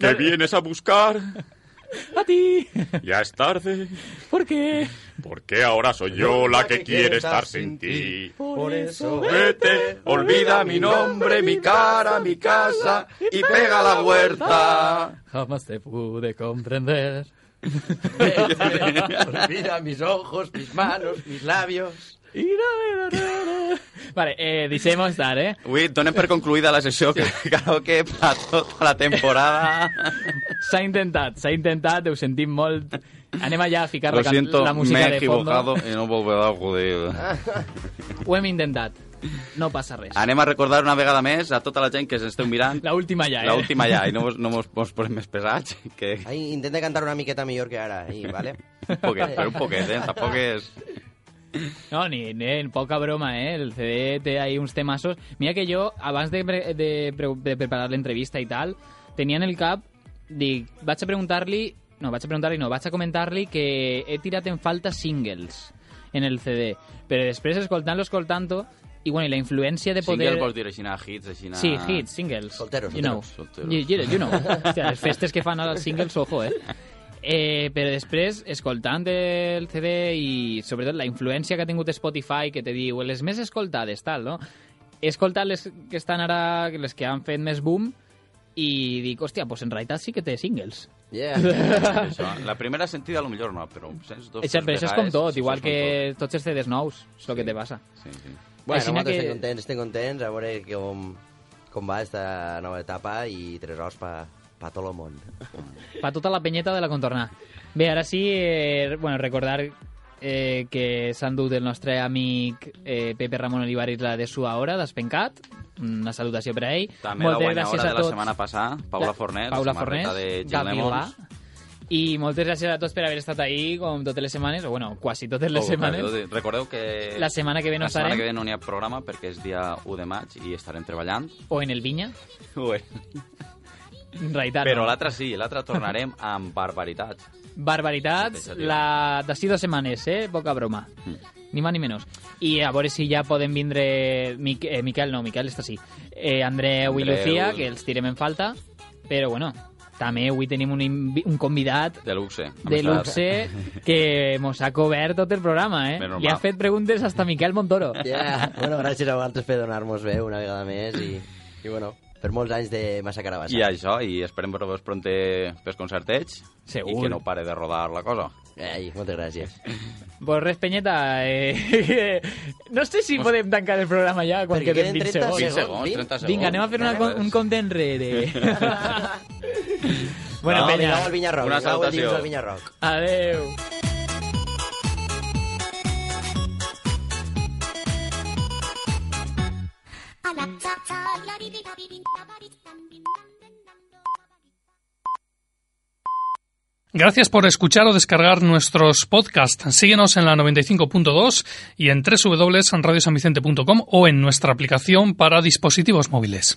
S4: Que vienes a buscar,
S3: A ti.
S13: Ya es tarde,
S3: ¿Por qué?
S13: porque ahora soy yo la que quiere estar sin ti.
S6: Por eso...
S13: Vete, olvida mi nombre, mi cara, mi casa y pega la huerta.
S3: Jamás te pude comprender.
S6: [LAUGHS] Mira mis ojos, mis manos, mis labios...
S3: Vale, eh, deixem estar, eh?
S4: Avui donem per concluïda la sessió que karaoke per tota la
S3: [LAUGHS]
S4: temporada.
S3: S'ha intentat, s'ha intentat, ho sentim molt. Anem allà a ficar
S4: Lo
S3: la, can-
S4: siento,
S3: la
S4: me
S3: música
S4: he
S3: de fondo.
S4: equivocado y no volverá a acudir.
S3: Ho hem intentat. No passa res.
S4: Anem a recordar una vegada més a tota la gent que ens esteu mirant
S3: La última ja, eh?
S4: la última ja, i no mos, no mos, mos posem més [LAUGHS] pesats, que
S6: Ai, intenta cantar una miqueta millor que ara, ahí, ¿vale?
S4: un poquet, però un poquet, eh? Tampoc és...
S3: No, ni, ni poca broma, ¿eh? El CD te hay unos temazos. Mira que yo, abans de, pre- de, pre- de preparar la entrevista y tal, tenía en el cap, dic, vaig a preguntar-li, no, vaig a preguntar-li, no, vaig a comentar-li que he tirat en falta singles en el CD, però després escoltant-lo, escoltant-lo, i bueno, i la influència de poder...
S4: Single vols dir així, hits, així...
S3: Sí, hits, singles.
S6: Solteros,
S3: you know.
S4: solteros.
S3: You, you- you know. Hòstia, les festes que fan ara els singles, ojo, eh? Eh, però després, escoltant el CD i sobretot la influència que ha tingut Spotify, que te diu les més escoltades, tal, no? He escoltat les que estan ara, les que han fet més boom, i dic, hòstia, pues en realitat sí que té singles.
S6: Yeah.
S4: Això, la primera sentida, a lo millor no, però sents dos...
S3: Això, però
S4: tres
S3: això és com
S4: vegades,
S3: tot,
S4: això
S3: igual
S4: és com
S3: que tots els CDs nous, és el que te passa.
S4: tot. Sí, sí.
S6: [LAUGHS] Bueno,
S3: Així
S6: nosaltres
S3: que-
S6: que... estem contents, estem contents, a veure com, com va esta nova etapa i tres hores pa, pa tot el món.
S3: Pa tota la penyeta de la contorna. Bé, ara sí, eh, bueno, recordar eh, que s'ha endut el nostre amic eh, Pepe Ramon Olivaris la de sua hora, d'Espencat. Una salutació per a ell.
S4: També la
S3: Moltes
S4: guanyadora
S3: gràcies
S4: de
S3: a
S4: la
S3: tots.
S4: setmana passada, Paula Fornés,
S3: Paula
S4: samarreta
S3: Fornés,
S4: de Gin
S3: Gavilà.
S4: Lemons.
S3: I moltes gràcies a tots per haver estat ahí com totes les setmanes, o bueno, quasi totes les
S4: Oh,
S3: setmanes.
S4: perdó, Recordeu que...
S3: La setmana que ve no
S4: la setmana
S3: estarem.
S4: que ve no n'hi ha programa perquè és dia 1 de maig i estarem treballant.
S3: O en el Vinya.
S4: Ué.
S3: En realitat,
S4: Però
S3: Ah, no.
S4: l'altre sí, l'altre tornarem amb barbaritats.
S3: Barbaritats, la d'ací dues setmanes, eh? Poca broma.
S4: Mm.
S3: Ni más ni menos. I a veure si ja poden vindre... Mic eh, Miquel, no, Miquel està sí. Eh, Andreu, i
S4: Andreu.
S3: Lucía, que els tirem en falta. Però, bueno, també avui tenim un, invi- un convidat
S4: De luxe. eh, a
S3: de
S4: més tard.
S3: luxe que mos ha cobert tot el programa, eh?
S4: Menos
S3: Li ha
S4: mal.
S3: fet preguntes hasta a Miquel Montoro.
S6: Yeah. [LAUGHS] bueno, gràcies a vosaltres per donar-nos veu una vegada més i, i bueno, per molts anys de Massa Carabassa.
S4: I això, i esperem veure-vos pronte pels concertets.
S3: Segur.
S4: I que no pare de rodar la cosa.
S6: Ei, moltes gràcies.
S3: Pues res, Penyeta, eh, [LAUGHS] no sé si podem tancar el programa ja quan
S6: Perquè
S3: queden
S6: queden
S3: 20
S6: 30
S3: segons.
S6: segons, 30 segons.
S3: Vinga, anem a fer una,
S6: Res.
S3: un compte enrere. [LAUGHS] bueno,
S6: no,
S3: Penya.
S6: vingueu al Vinyarroc.
S3: Una
S6: vingueu dins
S3: salutació.
S6: del Vinyarroc.
S3: Adeu.
S1: Gracias por escuchar o descargar nuestros podcasts. Síguenos en la 95.2 y en www.radiosanvicente.com o en nuestra aplicación para dispositivos móviles.